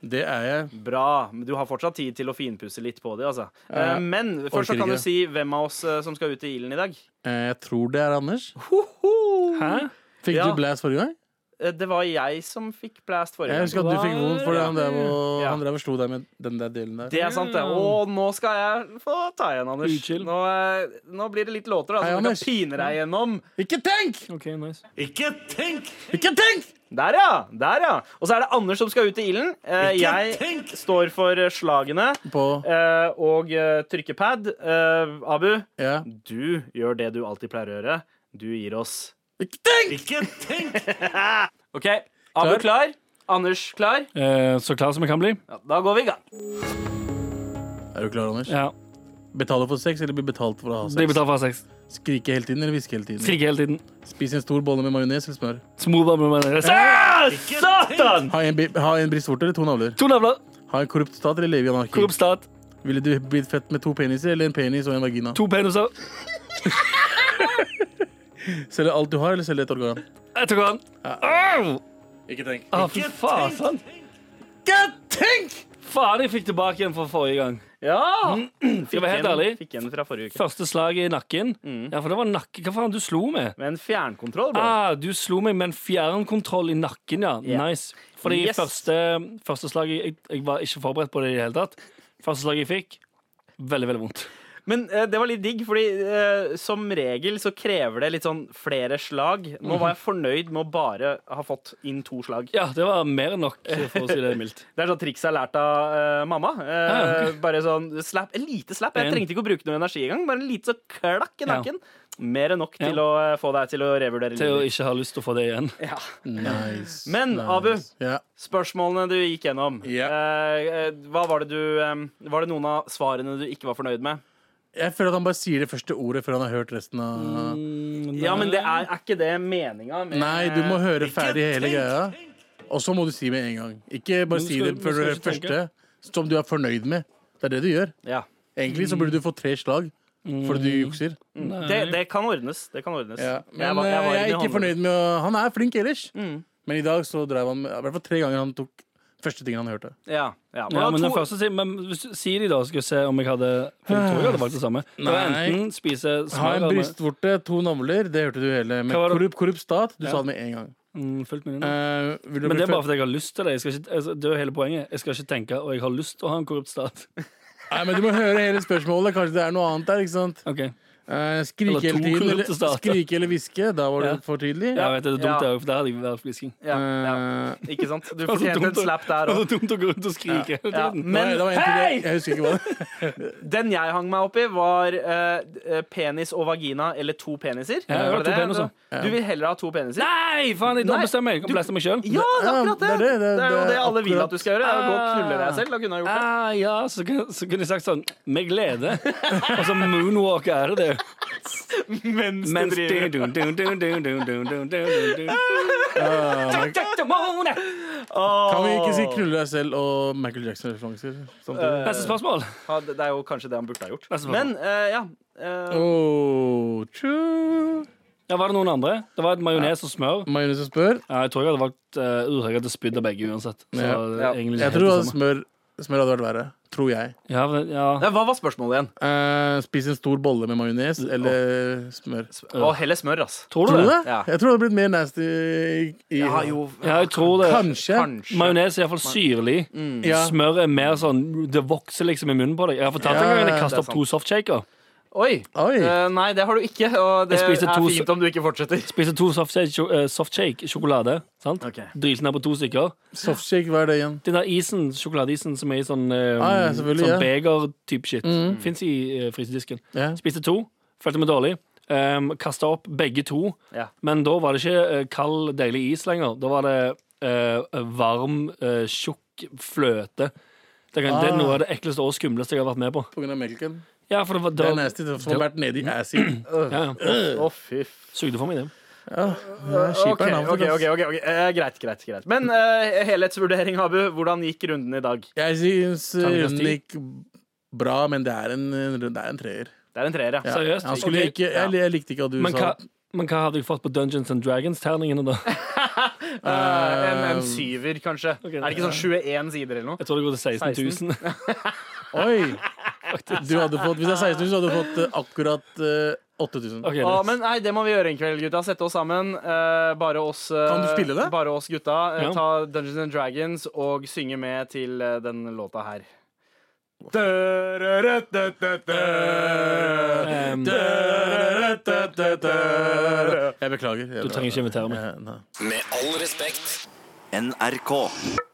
[SPEAKER 2] Det er jeg.
[SPEAKER 3] Bra. men Du har fortsatt tid til å finpusse litt på det. altså.
[SPEAKER 2] Ja,
[SPEAKER 3] Eh, men først så
[SPEAKER 2] orker
[SPEAKER 3] kan
[SPEAKER 2] ikke.
[SPEAKER 3] du si hvem av oss eh, som skal ut i ilden i dag.
[SPEAKER 2] Eh, Jeg tror det er Anders.
[SPEAKER 6] Hæ?
[SPEAKER 2] Fikk
[SPEAKER 3] Ja.
[SPEAKER 2] du blast forrige gang?
[SPEAKER 3] Eh, Det var jeg som fikk blast forrige
[SPEAKER 2] Jeg
[SPEAKER 3] gang.
[SPEAKER 2] husker at du fikk vondt fordi han drev og,
[SPEAKER 3] Ja.
[SPEAKER 2] han drev og slo deg med den der delen der.
[SPEAKER 3] Det er sant, det. Og nå skal jeg få ta igjen, Anders.
[SPEAKER 6] Utskill.
[SPEAKER 3] Nå, eh, nå blir det litt låter da,
[SPEAKER 2] Hei,
[SPEAKER 3] som du
[SPEAKER 2] Anders.
[SPEAKER 3] kan pine deg gjennom.
[SPEAKER 2] Ikke tenk!
[SPEAKER 6] OK, nice.
[SPEAKER 2] Ikke tenk!
[SPEAKER 3] Der, ja! der ja Og så er det Anders som skal ut i ilden. Eh, Jeg står for eh, slagene
[SPEAKER 2] På
[SPEAKER 3] eh, og eh, trykker pad. Eh, Abu,
[SPEAKER 2] Ja.
[SPEAKER 3] du gjør det du alltid pleier å gjøre. Du gir oss
[SPEAKER 2] Ikke tenk!
[SPEAKER 3] OK. Abu
[SPEAKER 2] Klar?
[SPEAKER 3] klar? Anders klar?
[SPEAKER 6] Eh, så klar som jeg kan bli.
[SPEAKER 3] Ja, da går vi i gang.
[SPEAKER 2] Er du klar, Anders?
[SPEAKER 6] Ja.
[SPEAKER 2] Betaler for sex eller blir betalt for å ha
[SPEAKER 6] Blir
[SPEAKER 2] sex?
[SPEAKER 6] betalt for å ha sex.
[SPEAKER 2] Skrike hele tiden eller hviske hele tiden?
[SPEAKER 6] Skrike hele tiden.
[SPEAKER 2] Spis en stor bolle med majones eller smør?
[SPEAKER 6] Smooth med meg. Satan!
[SPEAKER 2] Ha en, bi- ha en brystvorte eller to navler?
[SPEAKER 6] To navler.
[SPEAKER 2] Ha en korrupt stat eller leve i anarki?
[SPEAKER 6] Korrupt stat.
[SPEAKER 2] Ville du blitt født med to peniser eller en penis og en vagina?
[SPEAKER 6] To peniser.
[SPEAKER 2] Selge alt du har, eller selge et organ?
[SPEAKER 6] Jeg tok han. Au!
[SPEAKER 2] Ikke tenk.
[SPEAKER 6] Ah, fy faen. sant?
[SPEAKER 2] Ikke tenk!
[SPEAKER 6] Faen, jeg fikk tilbake igjen fra forrige gang.
[SPEAKER 3] Ja! Mm.
[SPEAKER 6] Skal jeg være helt
[SPEAKER 3] en-
[SPEAKER 6] ærlig?
[SPEAKER 3] Fikk en fra forrige uke.
[SPEAKER 6] Første slaget i nakken. Ja, for det var nakke. Hva faen du slo med?
[SPEAKER 3] Med en fjernkontroll, bro.
[SPEAKER 6] Ah, du slo meg med en fjernkontroll i nakken, ja.
[SPEAKER 3] Ja.
[SPEAKER 6] Nice. Fordi
[SPEAKER 3] Yes.
[SPEAKER 6] første, første slaget jeg, jeg var ikke forberedt på det i det hele tatt. Første slaget jeg fikk, veldig, veldig vondt.
[SPEAKER 3] Men eh, det var litt digg, fordi eh, som regel så krever det litt sånn flere slag. Nå var jeg fornøyd med å bare ha fått inn to slag.
[SPEAKER 6] Ja, det var mer enn nok, for å si det
[SPEAKER 3] (laughs)
[SPEAKER 6] mildt.
[SPEAKER 3] Det er sånn triks jeg har lært av eh, mamma. Eh, Bare sånn slap, en lite slap. Jeg
[SPEAKER 6] En.
[SPEAKER 3] trengte ikke å bruke noe energi engang. Bare en liten sånn klakk i
[SPEAKER 6] Ja.
[SPEAKER 3] nakken. Mer enn nok til
[SPEAKER 6] Ja.
[SPEAKER 3] å eh, få deg til å revurdere
[SPEAKER 6] Til å
[SPEAKER 3] livet. ditt.
[SPEAKER 6] ikke ha lyst til å få det igjen.
[SPEAKER 3] Ja.
[SPEAKER 2] Nice.
[SPEAKER 3] Men,
[SPEAKER 2] nice.
[SPEAKER 3] Abu.
[SPEAKER 2] Ja.
[SPEAKER 3] Spørsmålene du gikk gjennom,
[SPEAKER 2] Ja.
[SPEAKER 3] eh, eh, hva var det du eh, Var det noen av svarene du ikke var fornøyd med?
[SPEAKER 2] Jeg føler at han bare sier det første ordet før han har hørt resten av
[SPEAKER 6] Mm.
[SPEAKER 3] Ja, men det er, er ikke det meninga? med-
[SPEAKER 2] Nei, du må høre ferdig hele greia. Og så må du si med en gang. Ikke bare
[SPEAKER 6] Men
[SPEAKER 2] si
[SPEAKER 6] skal-
[SPEAKER 2] det
[SPEAKER 6] men
[SPEAKER 2] før du
[SPEAKER 6] skal
[SPEAKER 2] hører
[SPEAKER 6] ikke tenke.
[SPEAKER 2] første som du er fornøyd med. Det er det du gjør.
[SPEAKER 3] Ja.
[SPEAKER 2] Egentlig så burde du få tre slag fordi du jukser.
[SPEAKER 3] Det, det kan ordnes. Det kan ordnes.
[SPEAKER 2] Mm. Ja. Men
[SPEAKER 3] Jeg var- jeg
[SPEAKER 2] eh,
[SPEAKER 3] var
[SPEAKER 2] jeg er
[SPEAKER 3] i
[SPEAKER 2] ikke
[SPEAKER 3] håndball.
[SPEAKER 2] fornøyd med å Mm. Han er flink ellers. Men i dag så drev han med I hvert fall tre ganger han tok første tingen han hørte.
[SPEAKER 3] Ja, ja.
[SPEAKER 6] Ja, men
[SPEAKER 3] to-
[SPEAKER 6] den første sier Men hvis du- si de, da, skal vi se om jeg hadde For jeg tror jeg hadde valgt det samme. Det var
[SPEAKER 2] Nei.
[SPEAKER 6] enten spise
[SPEAKER 2] Ha en
[SPEAKER 6] smør eller
[SPEAKER 2] brystvorte, to navler. Det hørte du hele. Men
[SPEAKER 6] Hva var det?
[SPEAKER 2] korrupt, korrupt stat, du
[SPEAKER 6] Ja.
[SPEAKER 2] sa det med en gang.
[SPEAKER 6] mm, fullt mulig.
[SPEAKER 2] Eh, vil du
[SPEAKER 6] Men
[SPEAKER 2] bli
[SPEAKER 6] det er
[SPEAKER 2] født-
[SPEAKER 6] bare fordi jeg har lyst til det. Jeg skal ikke, altså, det er jo hele poenget. Jeg skal ikke tenke og jeg har lyst til å ha en korrupt stat. (laughs)
[SPEAKER 2] Nei, men Du må høre hele spørsmålet. Kanskje det er noe annet der. ikke sant?
[SPEAKER 6] Ok,
[SPEAKER 2] Eh,
[SPEAKER 6] Eller
[SPEAKER 2] skrike,
[SPEAKER 6] to
[SPEAKER 2] hele tiden,
[SPEAKER 6] korrupte
[SPEAKER 2] eller,
[SPEAKER 6] stater.
[SPEAKER 2] skrike eller hviske. Da var det
[SPEAKER 6] Ja.
[SPEAKER 2] for tydelig.
[SPEAKER 6] jeg vet, Det
[SPEAKER 3] Ja.
[SPEAKER 6] er dumt, det òg, for der hadde jeg vært flisking.
[SPEAKER 3] ja, ja.
[SPEAKER 2] Eh,
[SPEAKER 3] Ikke
[SPEAKER 2] (laughs)
[SPEAKER 3] sant? Du
[SPEAKER 6] var så
[SPEAKER 3] fortjente en
[SPEAKER 6] dumt å-
[SPEAKER 3] slap der
[SPEAKER 6] Det
[SPEAKER 3] òg.
[SPEAKER 6] er dumt å gå rundt og skrike hele
[SPEAKER 3] Ja.
[SPEAKER 6] tiden.
[SPEAKER 2] det var-
[SPEAKER 3] Men
[SPEAKER 2] det var en til jeg- Jeg husker ikke hva det
[SPEAKER 3] den jeg hang meg opp i, var eh, eh, penis og vagina eller to peniser.
[SPEAKER 6] Ja, jeg har
[SPEAKER 3] Var det
[SPEAKER 6] to
[SPEAKER 3] det?
[SPEAKER 6] peniser.
[SPEAKER 3] Du vil heller ha to peniser?
[SPEAKER 6] Nei, faen! Jeg
[SPEAKER 3] Nei,
[SPEAKER 6] ombestemmer meg. Jeg kan
[SPEAKER 3] du-
[SPEAKER 6] blæste meg sjøl.
[SPEAKER 3] Ja, det er akkurat det!
[SPEAKER 2] Ja, det er det, det-
[SPEAKER 3] Det er jo
[SPEAKER 2] det
[SPEAKER 3] det
[SPEAKER 2] er
[SPEAKER 3] alle vil
[SPEAKER 2] akkurat-
[SPEAKER 3] at du skal gjøre. er å Gå og knulle deg selv. Da kunne jeg gjort det.
[SPEAKER 6] Ah, ja, så kunne, så kunne jeg sagt sånn med glede. Og så moonwalk er det det.
[SPEAKER 3] Mens,
[SPEAKER 6] Mens
[SPEAKER 3] du driver.
[SPEAKER 2] Ah, Kan vi ikke si 'knulle deg selv' og Michael Jackson-referanser? Sånn. samtidig?
[SPEAKER 6] Neste spørsmål.
[SPEAKER 3] Ja, det det er jo kanskje det han burde ha gjort.
[SPEAKER 6] Neste spørsmål.
[SPEAKER 3] Men eh, ja. eh,
[SPEAKER 2] Oh, true.
[SPEAKER 6] Ja, var det noen andre? Det var et majones og smør.
[SPEAKER 2] Majones og spør.
[SPEAKER 6] Ja, jeg tror jeg hadde valgt uh, urhøyt til spydd av begge uansett. Så
[SPEAKER 2] Ja.
[SPEAKER 6] det er
[SPEAKER 3] Ja.
[SPEAKER 6] egentlig ikke
[SPEAKER 2] Jeg
[SPEAKER 6] helt
[SPEAKER 2] tror
[SPEAKER 6] det
[SPEAKER 2] at
[SPEAKER 6] samme.
[SPEAKER 2] smør, smør hadde vært verre. Tror jeg.
[SPEAKER 6] Ja, men- ja.
[SPEAKER 3] Nei, Hva var spørsmålet igjen?
[SPEAKER 2] Eh, spis en stor bolle med majones eller smør.
[SPEAKER 3] Å, heller smør, ass.
[SPEAKER 6] Tror
[SPEAKER 2] Tror du det?
[SPEAKER 3] Ja.
[SPEAKER 2] Jeg tror det hadde blitt mer nasty i, i
[SPEAKER 3] Ja, jo,
[SPEAKER 6] Ja, jeg tror det.
[SPEAKER 2] Kanskje. Mm.
[SPEAKER 3] kanskje.
[SPEAKER 6] Majones er iallfall syrlig.
[SPEAKER 2] Ja.
[SPEAKER 6] Smør er mer sånn Det vokser liksom i munnen på deg. Jeg har fortalt
[SPEAKER 2] Ja,
[SPEAKER 6] en gang at
[SPEAKER 2] det
[SPEAKER 6] jeg
[SPEAKER 2] er
[SPEAKER 6] kastet opp
[SPEAKER 3] sant.
[SPEAKER 6] to softshaker.
[SPEAKER 3] Oi!
[SPEAKER 2] Oi.
[SPEAKER 3] Eh, nei, det har du ikke, og det
[SPEAKER 6] Jeg spiste
[SPEAKER 3] er
[SPEAKER 6] to
[SPEAKER 3] fint
[SPEAKER 6] s-
[SPEAKER 3] om du ikke fortsetter.
[SPEAKER 6] Spiste to softshake sjo- eh, softshake sjokolade. sant?
[SPEAKER 3] Ok.
[SPEAKER 6] Drylte ned på to stykker.
[SPEAKER 2] Softshake, hva er det igjen?
[SPEAKER 6] Den der isen, sjokoladeisen som er i sånn, eh,
[SPEAKER 2] Ah, ja, selvfølgelig,
[SPEAKER 6] sånn
[SPEAKER 2] ja. Mm.
[SPEAKER 6] beger-type shit, fins i eh, frysedisken.
[SPEAKER 2] Ja.
[SPEAKER 6] Spiste to, følte meg dårlig. Um, Kasta opp begge to,
[SPEAKER 3] Ja.
[SPEAKER 6] men da var det ikke eh, kald, deilig is lenger. Da var det eh, varm, eh, tjukk fløte. Det, kan, det er noe av det ekleste og skumleste jeg har vært med på.
[SPEAKER 2] På grunn av melken.
[SPEAKER 6] Ja, for det var,
[SPEAKER 2] Det
[SPEAKER 6] det
[SPEAKER 2] er
[SPEAKER 6] var
[SPEAKER 2] nasty. Det har vært nedi assy.
[SPEAKER 6] (clears throat) ja, ja.
[SPEAKER 3] Å, fy f...
[SPEAKER 6] Sugde for meg det.
[SPEAKER 3] Ok, ok, ok, ok, ok. Eh, greit, greit. greit Men eh, helhetsvurdering, Abu. Hvordan gikk runden i dag?
[SPEAKER 2] Jeg syns eh,
[SPEAKER 6] Terningkast
[SPEAKER 2] runden gikk bra, men det er en, det er en treer.
[SPEAKER 3] Det er en treer, ja.
[SPEAKER 6] Seriøst?
[SPEAKER 2] Han skulle
[SPEAKER 6] Ok.
[SPEAKER 2] ikke, jeg, jeg likte ikke at du
[SPEAKER 6] Men
[SPEAKER 2] sa
[SPEAKER 6] hva, men hva hadde jeg fått på Dungeons and Dragons-terningene, da?
[SPEAKER 3] Eh, en, en syver, kanskje.
[SPEAKER 6] Um, Ok.
[SPEAKER 3] er det ikke sånn 21 sider eller noe?
[SPEAKER 6] Jeg tror det går til 16 000.
[SPEAKER 2] Oi! Du hadde fått, hvis det er 16 000, så hadde du fått eh, akkurat eh, 8000.
[SPEAKER 6] (laughs) Ok,
[SPEAKER 3] Å,
[SPEAKER 6] nice.
[SPEAKER 3] Ah, men nei, det må vi gjøre en kveld, gutta. Sette oss sammen. eh, bare oss eh,
[SPEAKER 2] Kan du spille det?
[SPEAKER 3] Bare oss gutta. eh,
[SPEAKER 6] Ja.
[SPEAKER 3] Ta Dungeons and Dragons og synge med til eh, den låta her. Dørørødødødø.
[SPEAKER 6] Um,
[SPEAKER 2] Jeg beklager.
[SPEAKER 6] du trenger ikke invitere meg.
[SPEAKER 2] Nei.
[SPEAKER 5] Med all respekt.
[SPEAKER 7] NRK.